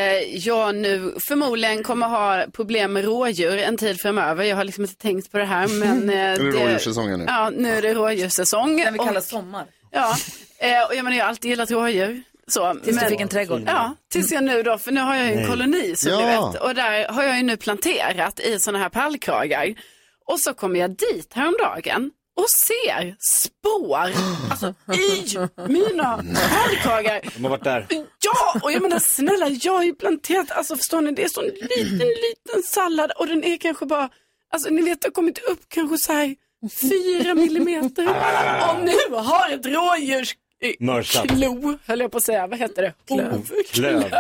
jag nu förmodligen kommer ha problem med rådjur en tid framöver. Jag har liksom inte tänkt på
[laughs]
det här men... Eh,
Är det rådjurssäsongen nu?
Ja, nu är det rådjurssäsong.
Den vi kallar
Och-
sommar.
Ja, eh, och jag menar jag har alltid gillat rådjur. Så,
Tills du fick en trädgård.
Ja, tills jag nu då, för nu har jag ju en
Nej.
koloni som
Ja.
du vet. Och där har jag ju nu planterat i sådana här pallkragar. Och så kommer jag dit häromdagen och ser spår alltså,
[laughs]
i mina pallkragar.
De har
[laughs]
varit där.
Ja, och jag menar snälla, jag har ju planterat, alltså förstår ni, det är sån liten, liten sallad och den är kanske bara, alltså ni vet det har kommit upp kanske så här fyra millimeter och nu har ett rådjurs eh,
Mörsat.
klo, höll jag på att säga, vad heter det? Klöv.
Klöv.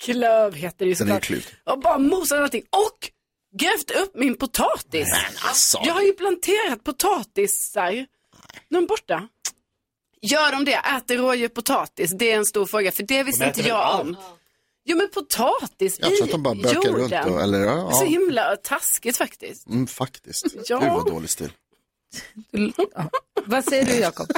Klöv heter det ju
Den är
såklart.
kluv.
Och bara mosat allting och grävt upp min potatis.
alltså.
Jag har ju planterat potatisar. Nu är de borta. Gör de det? Äter rådjur potatis? Det är en stor fråga, för det visste
De
inte
äter väl
jag om. Jo, men potatis
Jag
i
tror att de bara bökar
jorden.
runt då, eller, ja,
Det är så
ja.
himla taskigt faktiskt.
Mm, faktiskt.
Ja.
Gud vad dålig stil.
Vad säger du
[laughs]
Jakob?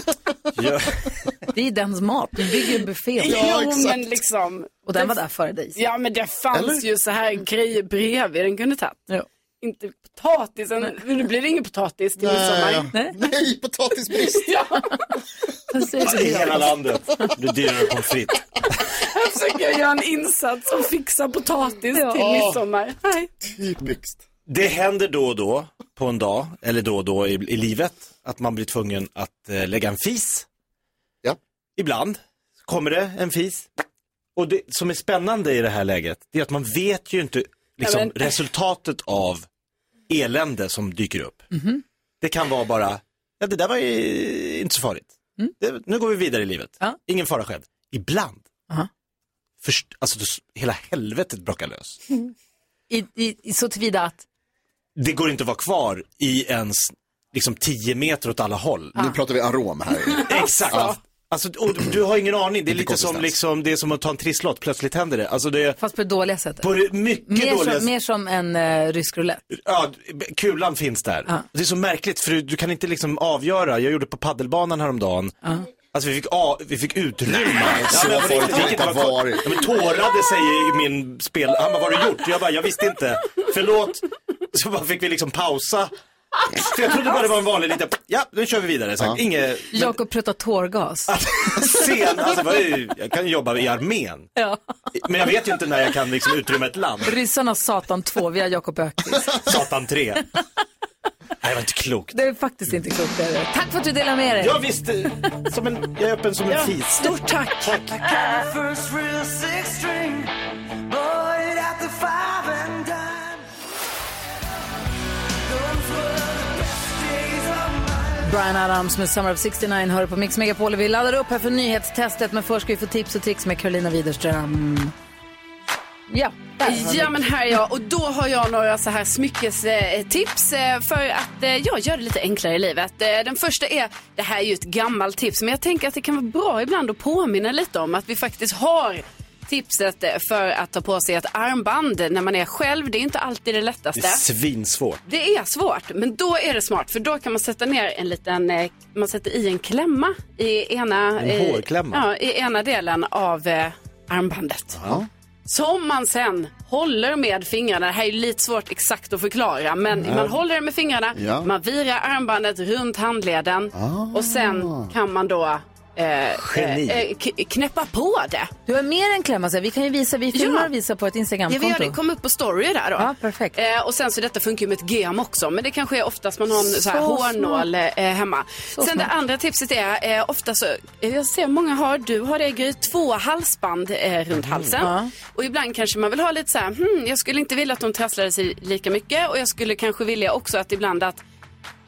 Det är dens mat, du bygger en buffé.
jo, men liksom.
Och den var där före dig.
Ja, men det fanns
Eller?
ju så här grejer bredvid den kunde tagit. Inte potatisen, nu blir det ingen potatis till midsommar.
Nej,
Nej potatisbrist.
[laughs] ja.
Vad säger
I
du
hela
Jakob?
landet. Det är dyrare pommes frites.
Jag försöker göra en insats och fixa potatis
Ja.
till midsommar. Nej.
Typiskt.
Det händer då och då på en dag, eller då och då i, i livet, att man blir tvungen att eh, lägga en fis.
Ja.
Ibland kommer det en fis. Och det som är spännande i det här läget, det är att man vet ju inte liksom,
Ja, men-
resultatet av elände som dyker upp. Det kan vara bara, ja det där var ju inte så farligt.
Mm.
Det, nu går vi vidare i livet. Ingen fara skedd. Ibland,
Aha.
först, alltså då s- hela helvetet brakar lös.
I, i, i, så tillvida att,
det går inte att vara kvar i ens liksom 10 meter åt alla håll.
Nu pratar vi arom här.
[laughs] Exakt.
Ja.
Alltså, och du- du har ingen aning. Det är lite som,
konsistens.
liksom, det är som att ta en trisslott, plötsligt händer det. Alltså, det är
Fast på det dåliga sättet.
på det mycket
Mer
dåliga...
som, mer som en eh, rysk roulette.
Ja, kulan finns där. Det är så märkligt för du, du kan inte liksom avgöra. Jag gjorde på paddelbanan häromdagen. Alltså vi fick, a, vi fick utrymma.
Nej, så
men
får
det-
det inte
vilket var-
varit.
Ja, men tårade sig i min spel. Han bara, vad har du gjort? Jag bara, jag visste inte. Förlåt. Så bara fick vi liksom pausa. För jag trodde bara det var en vanlig liten, ja nu kör vi vidare. Så, Inget,
Jakob pruttar
[laughs]
tårgas.
sen, alltså, vad är, jag kan ju jobba i armén.
Ja.
Men jag vet ju inte när jag kan liksom utrymma ett land.
Ryssarna Satan 2, vi har Jakob Ökvist.
Satan 3. Nej, det var inte klokt.
Det är faktiskt inte klokt. det är det. Tack för att du delar med dig.
Ja, visst, eh, som en, jag är öppen som en
Ja,
fis.
Stort tack. Brian Adams med Summer of 69 hör på Mix Megapol. Vi laddar upp här för nyhetstestet, men först ska vi få tips och tricks med Carolina Widerström. Ja,
Ja men här är jag och då har jag några så här smyckestips eh, för att eh, jag gör det lite enklare i livet. Eh, Den första är, det här är ju ett gammalt tips men jag tänker att det kan vara bra ibland att påminna lite om att vi faktiskt har tipset eh, för att ta på sig ett armband när man är själv. Det är inte alltid det lättaste.
Det är svinsvårt.
Det är svårt, men då är det smart för då kan man sätta ner en liten, eh, man sätter i en klämma i ena,
En
eh,
hårklämma.
Ja, i ena delen av eh, armbandet. Som man sen håller med fingrarna. Det här är ju lite svårt exakt att förklara, men
Ja.
man håller det med fingrarna,
Mm. Ja.
man virar armbandet runt handleden
Ah.
och sen kan man då eh,
Geni.
eh, eh, k- knäppa på det.
Du har mer än klämma, så här. vi kan ju visa, vi filmar och visar på ett
Ja, vi
Instagramkonto.
gör det. Kom upp på story där då. Ja, perfekt. Eh, och sen så detta funkar ju med ett gem också, men det kanske är oftast man har en så här
Så
hårnål eh,
smart.
hemma.
Så
sen det
smart.
andra tipset är eh, ofta så, eh, jag ser många har, du har det Gry, två halsband eh, runt halsen.
Ja.
Och ibland kanske man vill ha lite så här, hmm, jag skulle inte vilja att de trasslade sig lika mycket och jag skulle kanske vilja också att ibland att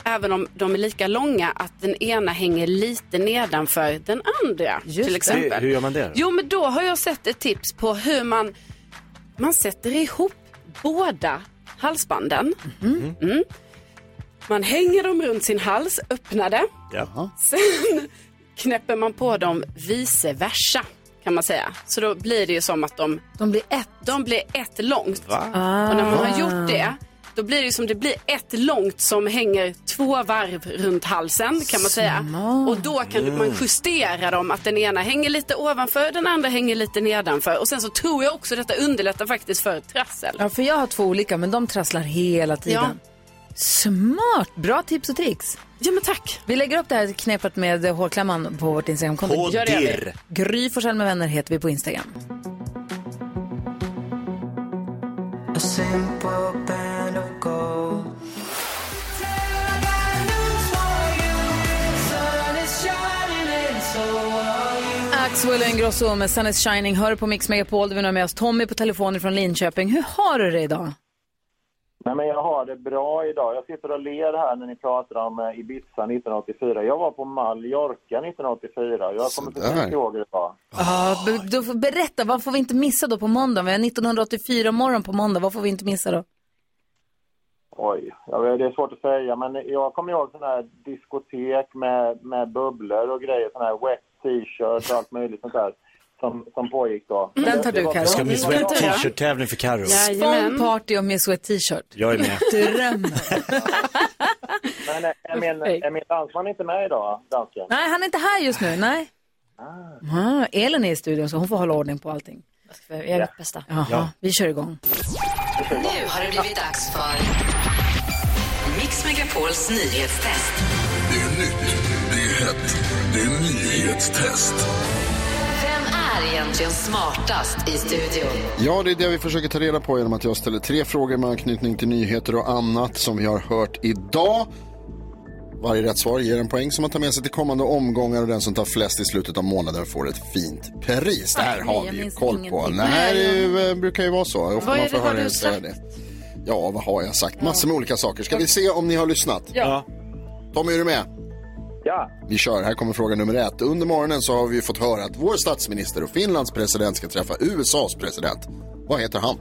Även om de är lika långa, att den ena hänger lite nedanför den andra. till exempel.
Hur, hur gör man det då?
Jo, men då har jag sett ett tips på hur man, man sätter ihop båda halsbanden. Mm. Man hänger dem runt sin hals, öppnade.
Jaha.
Sen [laughs] knäpper man på dem vice versa, kan man säga. Så då blir det ju som att de,
de blir ett.
De blir ett långt.
Va?
Och när man
Ah.
har gjort det, då blir det ju som det blir ett långt som hänger två varv runt halsen, kan man säga. Och då kan
Mm.
man justera dem, att den ena hänger lite ovanför, den andra hänger lite nedanför. Och sen så tror jag också detta underlättar faktiskt för trassel.
Ja, för jag har två olika, men de trasslar hela tiden. Smart! Bra tips och tricks.
Ja, men tack.
Vi lägger upp det här knepet med eh, hårklämman på vårt Instagramkonto.
På
Gör det, Emil.
dirr.
Gry Forssell med vänner heter vi på Instagram.
A simple band of gold.
Axwell och Ingrosso med Sun is shining. Hör på Mix Megapol där vi nu har med oss Tommy på telefonen från Linköping. Hur har du det idag?
Nej, men jag har det bra idag. Jag sitter och ler här när ni pratar om eh, Ibiza 1984. Jag var på Mallorca 1984. Jag kommer precis ihåg det idag.
Ah, be- då får- berätta, vad får vi inte missa då på måndag? Vi har 1984 morgon på måndag, vad får vi inte missa då?
Oj, ja, det är svårt att säga, men jag kommer ihåg sådana här diskotek med, med bubblor och grejer, sådana här wet t-shirts och allt möjligt sånt där som, som pågick då.
Den tar
Det
Mm. du,
var-
Karo.
Jag ska
Mm.
Miss
Den tar jag.
T-shirt-tävling för Carro.
Spång party och Miss Wet T-shirt.
Jag är med.
Drömmen.
Men eh, är min, är min dansman inte med idag, dansken?
Nej, han är inte här just nu, nej. Ah, Elin är i studion så hon får hålla ordning på allting.
Jag gör mitt bästa.
Jaha,
Ja.
vi kör igång.
Nu har det blivit dags för Mix Megapols nyhetstest.
Det är nytt, det är hett, det är nyhetstest.
Vem är egentligen smartast i studion?
Ja, det är det vi försöker ta reda på genom att jag ställer tre frågor med anknytning till nyheter och annat som vi har hört idag. Varje rätt svar ger en poäng som man tar med sig till kommande omgångar och den som tar flest i slutet av månaden får ett fint pris. Det här
Nej,
har
jag
vi ju
minns
koll på.
ingenting.
Det här är ju, eh, brukar ju vara så. Ofta
Vad är
man får
det- har
höra
du
er säga
sagt?
det. Ja, vad har jag sagt? Massor med olika saker. Ska vi se om ni har lyssnat?
Ja.
Tommy, är du med?
Ja.
Vi kör. Här kommer fråga nummer ett. Under morgonen så har vi fått höra att vår statsminister och Finlands president ska träffa USAs president. Vad heter han?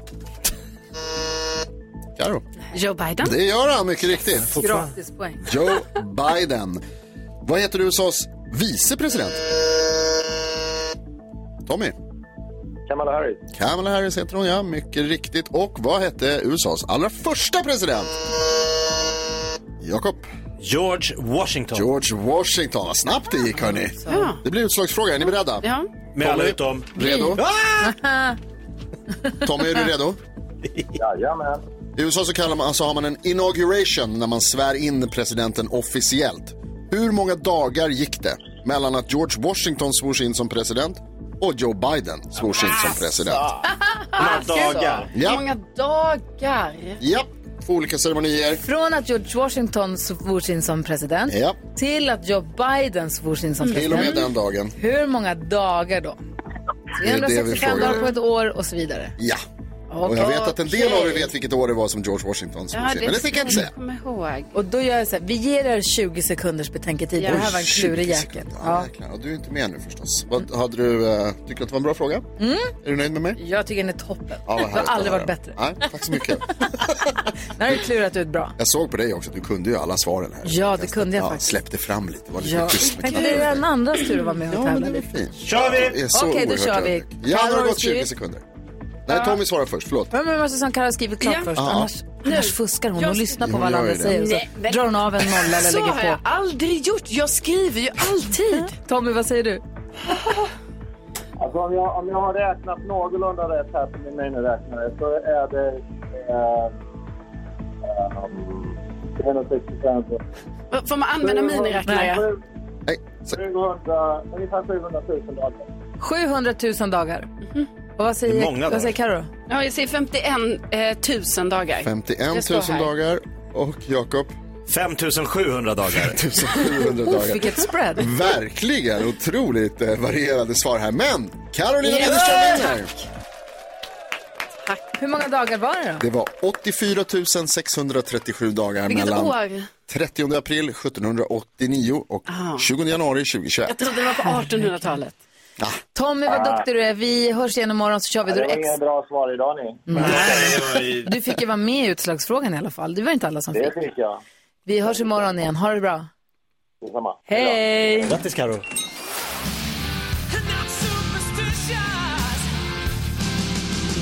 Karo.
Joe Biden?
Det gör han mycket riktigt.
Gratis poäng.
Joe Biden. Vad heter USAs vicepresident? Tommy?
Kamala Harris.
Kamala Harris heter hon, ja. Mycket riktigt. Och vad hette USAs allra första president? Jakob.
George Washington.
George Washington. Vad snabbt det gick, hörni.
Ja.
Det blir utslagsfråga. Är ni beredda?
Ja.
Med alla utom...
[laughs]
Redo?
Ah!
Tommy, är du redo?
Jajamän.
I USA så kallar man, alltså har man en inauguration när man svär in presidenten officiellt. Hur många dagar gick det mellan att George Washington svors in som president och Joe Biden svors in som president? Ah,
Många
Alltså,
dagar. Ja.
Många dagar.
Ja, två olika ceremonier.
Från att George Washington svors in som president
Ja.
till att Joe Biden svors in som
Mm. Till och med
president.
den dagen.
Hur många dagar då?
Det är det vi
365
frågar.
dagar på ett år och så vidare.
Ja. Och jag vet att en del av er vet vilket år det var som George Washington svors in. Men det tänker jag inte säga.
Kom ihåg.
Och då gör jag så här, vi ger er 20 sekunders betänketid.
Ja.
Det här var en
Oj, 20
klurig jäkel. Ja.
Jäklar, och du är inte med nu förstås. Vad, hade du, eh, tycker du att det var en bra fråga?
Mm.
Är du nöjd med mig?
Jag tycker den är toppen.
Ja, vad
det
härligt
har
att
aldrig
höra.
varit bättre.
Nej, tack så mycket.
Den har du klurat ut bra.
Jag såg på dig också att du kunde ju alla svaren här.
Ja, det kunde jag
Ja,
faktiskt.
släppte fram lite, det var lite
Ja.
tyst med
Tänk att det
knappen.
är den andras tur att vara med och
Ja, men
tävla.
det var
lite.
fint.
Kör vi!
Det är så
Okej, då
oerhört
kör vi.
ödmjuk. Ja, nu har
Karol
det gått 20
skriver-
sekunder. Nej, Tommy svarar först, förlåt.
Vem är det som kan ha skrivit klart
Ja.
först?
Ja.
Annars, annars fuskar hon. Hon
Jag-
lyssnar på
Hon
vad alla andra
gör ju det.
säger och
Nej,
så
men-
drar hon av en nolla eller
Så
lägger
har jag
på.
aldrig gjort. Jag skriver ju alltid.
[laughs] Tommy, vad säger du?
Alltså om jag, om jag har räknat någorlunda rätt här på min miniräknare så är det... Eh, eh, 365...
Va- Får man använda miniräknare?
Nej.
700, ungefär 700 000 dagar.
700 000 dagar. Och vad
Det
säger,
är många dagar.
vad säger Karo?
Ja, jag säger 51 000 dagar.
51 000 dagar och Jakob?
5 700 dagar.
700 dagar.
Uff, vilket spread.
Verkligen otroligt eh, varierade svar här. Men Carolina
Yeah!
Widerström vinner.
Hur många dagar var det då?
Det var 84 637 dagar
Vilket
mellan
år?
30 april 1789 och 20 januari 2021.
Jag trodde det var på 1800-talet.
Tommy, vad duktig du är. Vi hörs igen imorgon så kör vi.
Ja,
Då
det
är det
var inga
ex-
bra svar idag ni.
Du fick ju vara med i utslagsfrågan i alla fall. Det var inte alla som fick.
Det fick jag.
Vi hörs imorgon igen. Ha det bra.
Detsamma.
Hej!
Grattis Karo.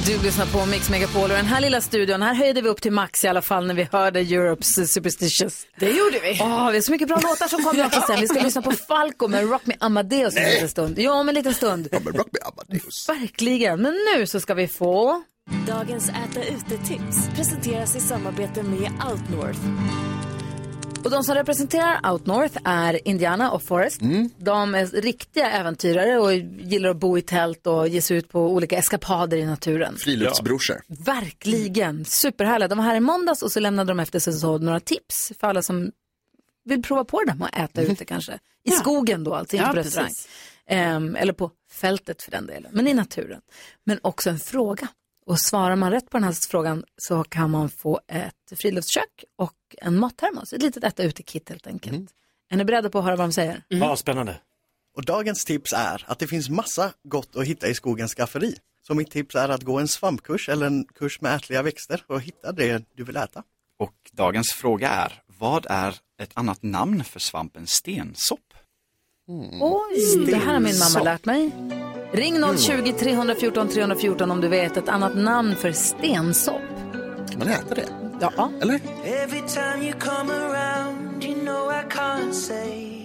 Du lyssnar på Mix Megapol och den här lilla studion, här höjde vi upp till max i alla fall när vi hörde Europe's Superstitious.
Det gjorde vi.
Åh, vi har så mycket bra låtar som kommer också sen. Vi ska lyssna på Falco med Rock Me Amadeus om en liten stund. Ja, om en liten stund. Ja,
men Rock Me Amadeus.
Verkligen. Men nu så ska vi få...
Dagens äta ute-tips presenteras i samarbete med Outnorth.
Och de som representerar Out North är Indiana och Forrest.
Mm.
De är riktiga äventyrare och gillar att bo i tält och ge sig ut på olika eskapader i naturen.
Friluftsbrorsor.
Verkligen, superhärliga. De var här i måndags och så lämnade de efter sig så några tips för alla som vill prova på dem och äta ute kanske. I skogen då alltså, inte
Mm. Ja,
på restaurang.
precis.
Ehm, eller på fältet för den delen, men i naturen. Men också en fråga. Och svarar man rätt på den här frågan så kan man få ett friluftskök och en mattermos. Ett litet äta ute-kit helt enkelt.
Mm.
Är ni beredda på att höra vad de säger?
Ja, spännande.
Mm. Och dagens tips är att det finns massa gott att hitta i skogens skafferi. Så mitt tips är att gå en svampkurs eller en kurs med ätliga växter och hitta det du vill äta.
Och dagens fråga är, vad är ett annat namn för svampen stensopp?
Mm.
Oj, det här har min mamma lärt mig. Ring 020-314 314 om du vet ett annat namn för stensopp.
Kan man äta det?
Ja.
Eller?
Every time you come around, you know I can't say.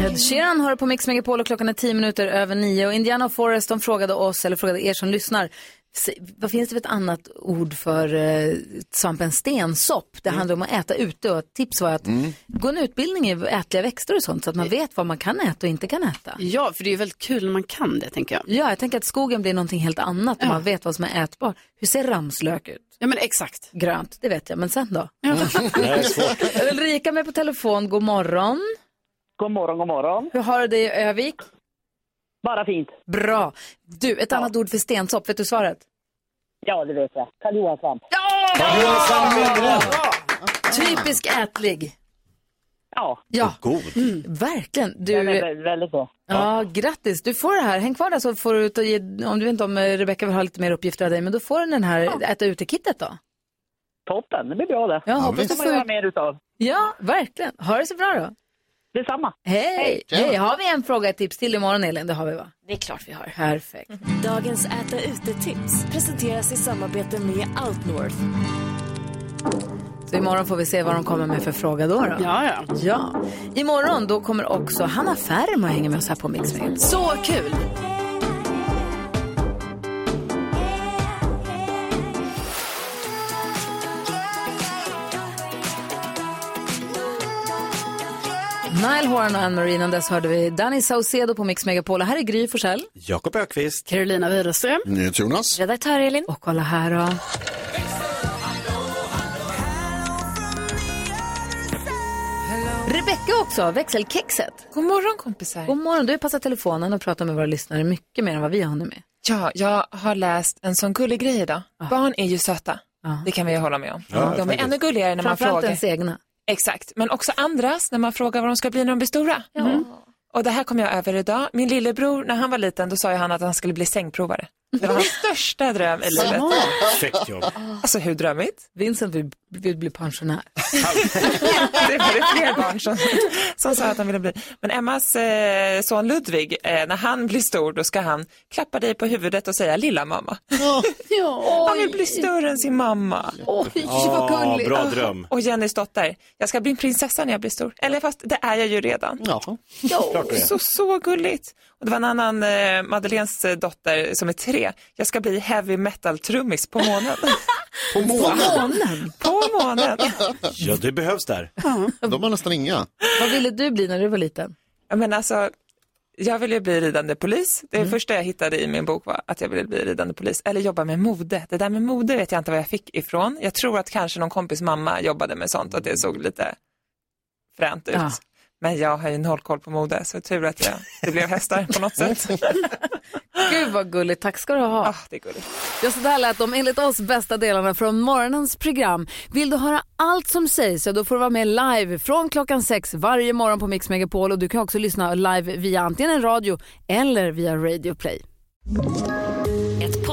Ed Sheeran hör på Mix Megapol och klockan är 10 minuter över 9. Och Indiana och Forrest de frågade oss, eller frågade er som lyssnar, se- vad finns det för ett annat ord för eh, svampen stensopp?
Mm.
Det handlar om att äta ute och ett tips var att gå en utbildning i ätliga växter och sånt så att man vet vad man kan äta och inte kan äta.
Ja, för det är ju väldigt kul när man kan det, tänker jag.
Ja, jag tänker att skogen blir någonting helt annat om man vet vad som är ätbart. Hur ser ramslök ut?
Ja, men exakt.
Grönt, det vet jag, men sen då?
[laughs] Det här är
Ulrika med på telefon, god morgon.
God morgon, god morgon.
Hur har du det i Övik?
Bara fint.
Bra. Du, ett annat ord för stensopp, vet du svaret?
Ja, det vet jag. Karl Johan Svamp.
Typisk ätlig.
Ja.
Ja. Mm, verkligen. Du,
Den är vä- väldigt bra.
ja, grattis. Du får det här. Häng kvar där så får du, ta, ge- om du vet inte om eh, Rebecka vill ha lite mer uppgifter av dig, men då får du den här äta ute-kittet då.
Toppen, det blir bra det.
Ja, hoppas
det
du
får
får-
man göra mer utav.
Ja, verkligen. Ha det så bra då.
Detsamma.
Hej!
Hej.
Hej. Har vi en fråga, ett tips till imorgon, Elin? Det har vi, va?
Det är klart vi har.
Perfekt.
Dagens äta ute-tips presenteras i samarbete med Outnorth.
Så imorgon får vi se vad de kommer med för fråga då. då.
Ja, ja.
ja. Imorgon då kommer också Hanna Färm och hänger med oss här på Mix Megapol.
Så kul!
Nile Horan och Ann-Marie, innan dess hörde vi Danny Saucedo på Mix Megapol. Och Här är Gry Forssell.
Jakob Ökvist.
Carolina Widerström.
Jonas.
Redaktör Elin. Och kolla här då. Rebecka också, växelkexet.
God morgon kompisar.
God morgon, du har passat telefonen och pratat med våra lyssnare mycket mer än vad vi har hunnit med.
Ja, jag har läst en sån gullig grej idag. Barn är ju söta. Det kan vi ju hålla med om.
Ja,
de är
faktiskt.
ännu gulligare när man frågar.
Framförallt ens egna.
Exakt, men också andras när man frågar vad de ska bli när de blir stora. Mm. Och det här kom jag över idag. Min lillebror, när han var liten, då sa ju han att han skulle bli sängprovare.
[laughs]
Det var hans största dröm i livet.
Jaha.
Käckt jobb. Alltså hur drömmigt?
Vincent vill, vill bli
[laughs]
pensionär.
det var det fler barn som, som sa att han ville bli. Men Emmas eh, son Ludvig, eh, när han blir stor då ska han klappa dig på huvudet och säga lilla mamma. Han vill bli större än sin mamma. Oj,
vad Ah, gulligt. bra dröm.
Och Jennys dotter, jag ska bli en prinsessa när jag blir stor. Eller fast det är jag ju redan.
Ja.
Klart du är.
så, så gulligt. Och det var en annan, eh, Madeleines eh, dotter som är tre, jag ska bli heavy metal-trummis
[laughs]
på månen.
På
månen?
på månen.
Ja, det behövs där.
De har nästan inga.
Vad ville du bli när du var
[gasps]
liten?
Ja, Men alltså, jag ville bli ridande polis. Det första jag hittade i min bok var att jag ville bli ridande polis eller jobba med mode. Det där med mode vet jag inte vad jag fick ifrån. Jag tror att kanske någon kompis mamma jobbade med sånt och att det såg lite fränt ut.
Ja.
Men jag har ju noll koll på mode så tur att jag, det blev hästar på något sätt.
Gud vad gulligt, tack ska du ha.
Ah, det är gulligt.
Ja, så där lät de enligt oss bästa delarna från morgonens program. Vill du höra allt som sägs så då får du vara med live från klockan sex varje morgon på Mix Megapol och du kan också lyssna live via antingen en radio eller via Radio Play.
Ett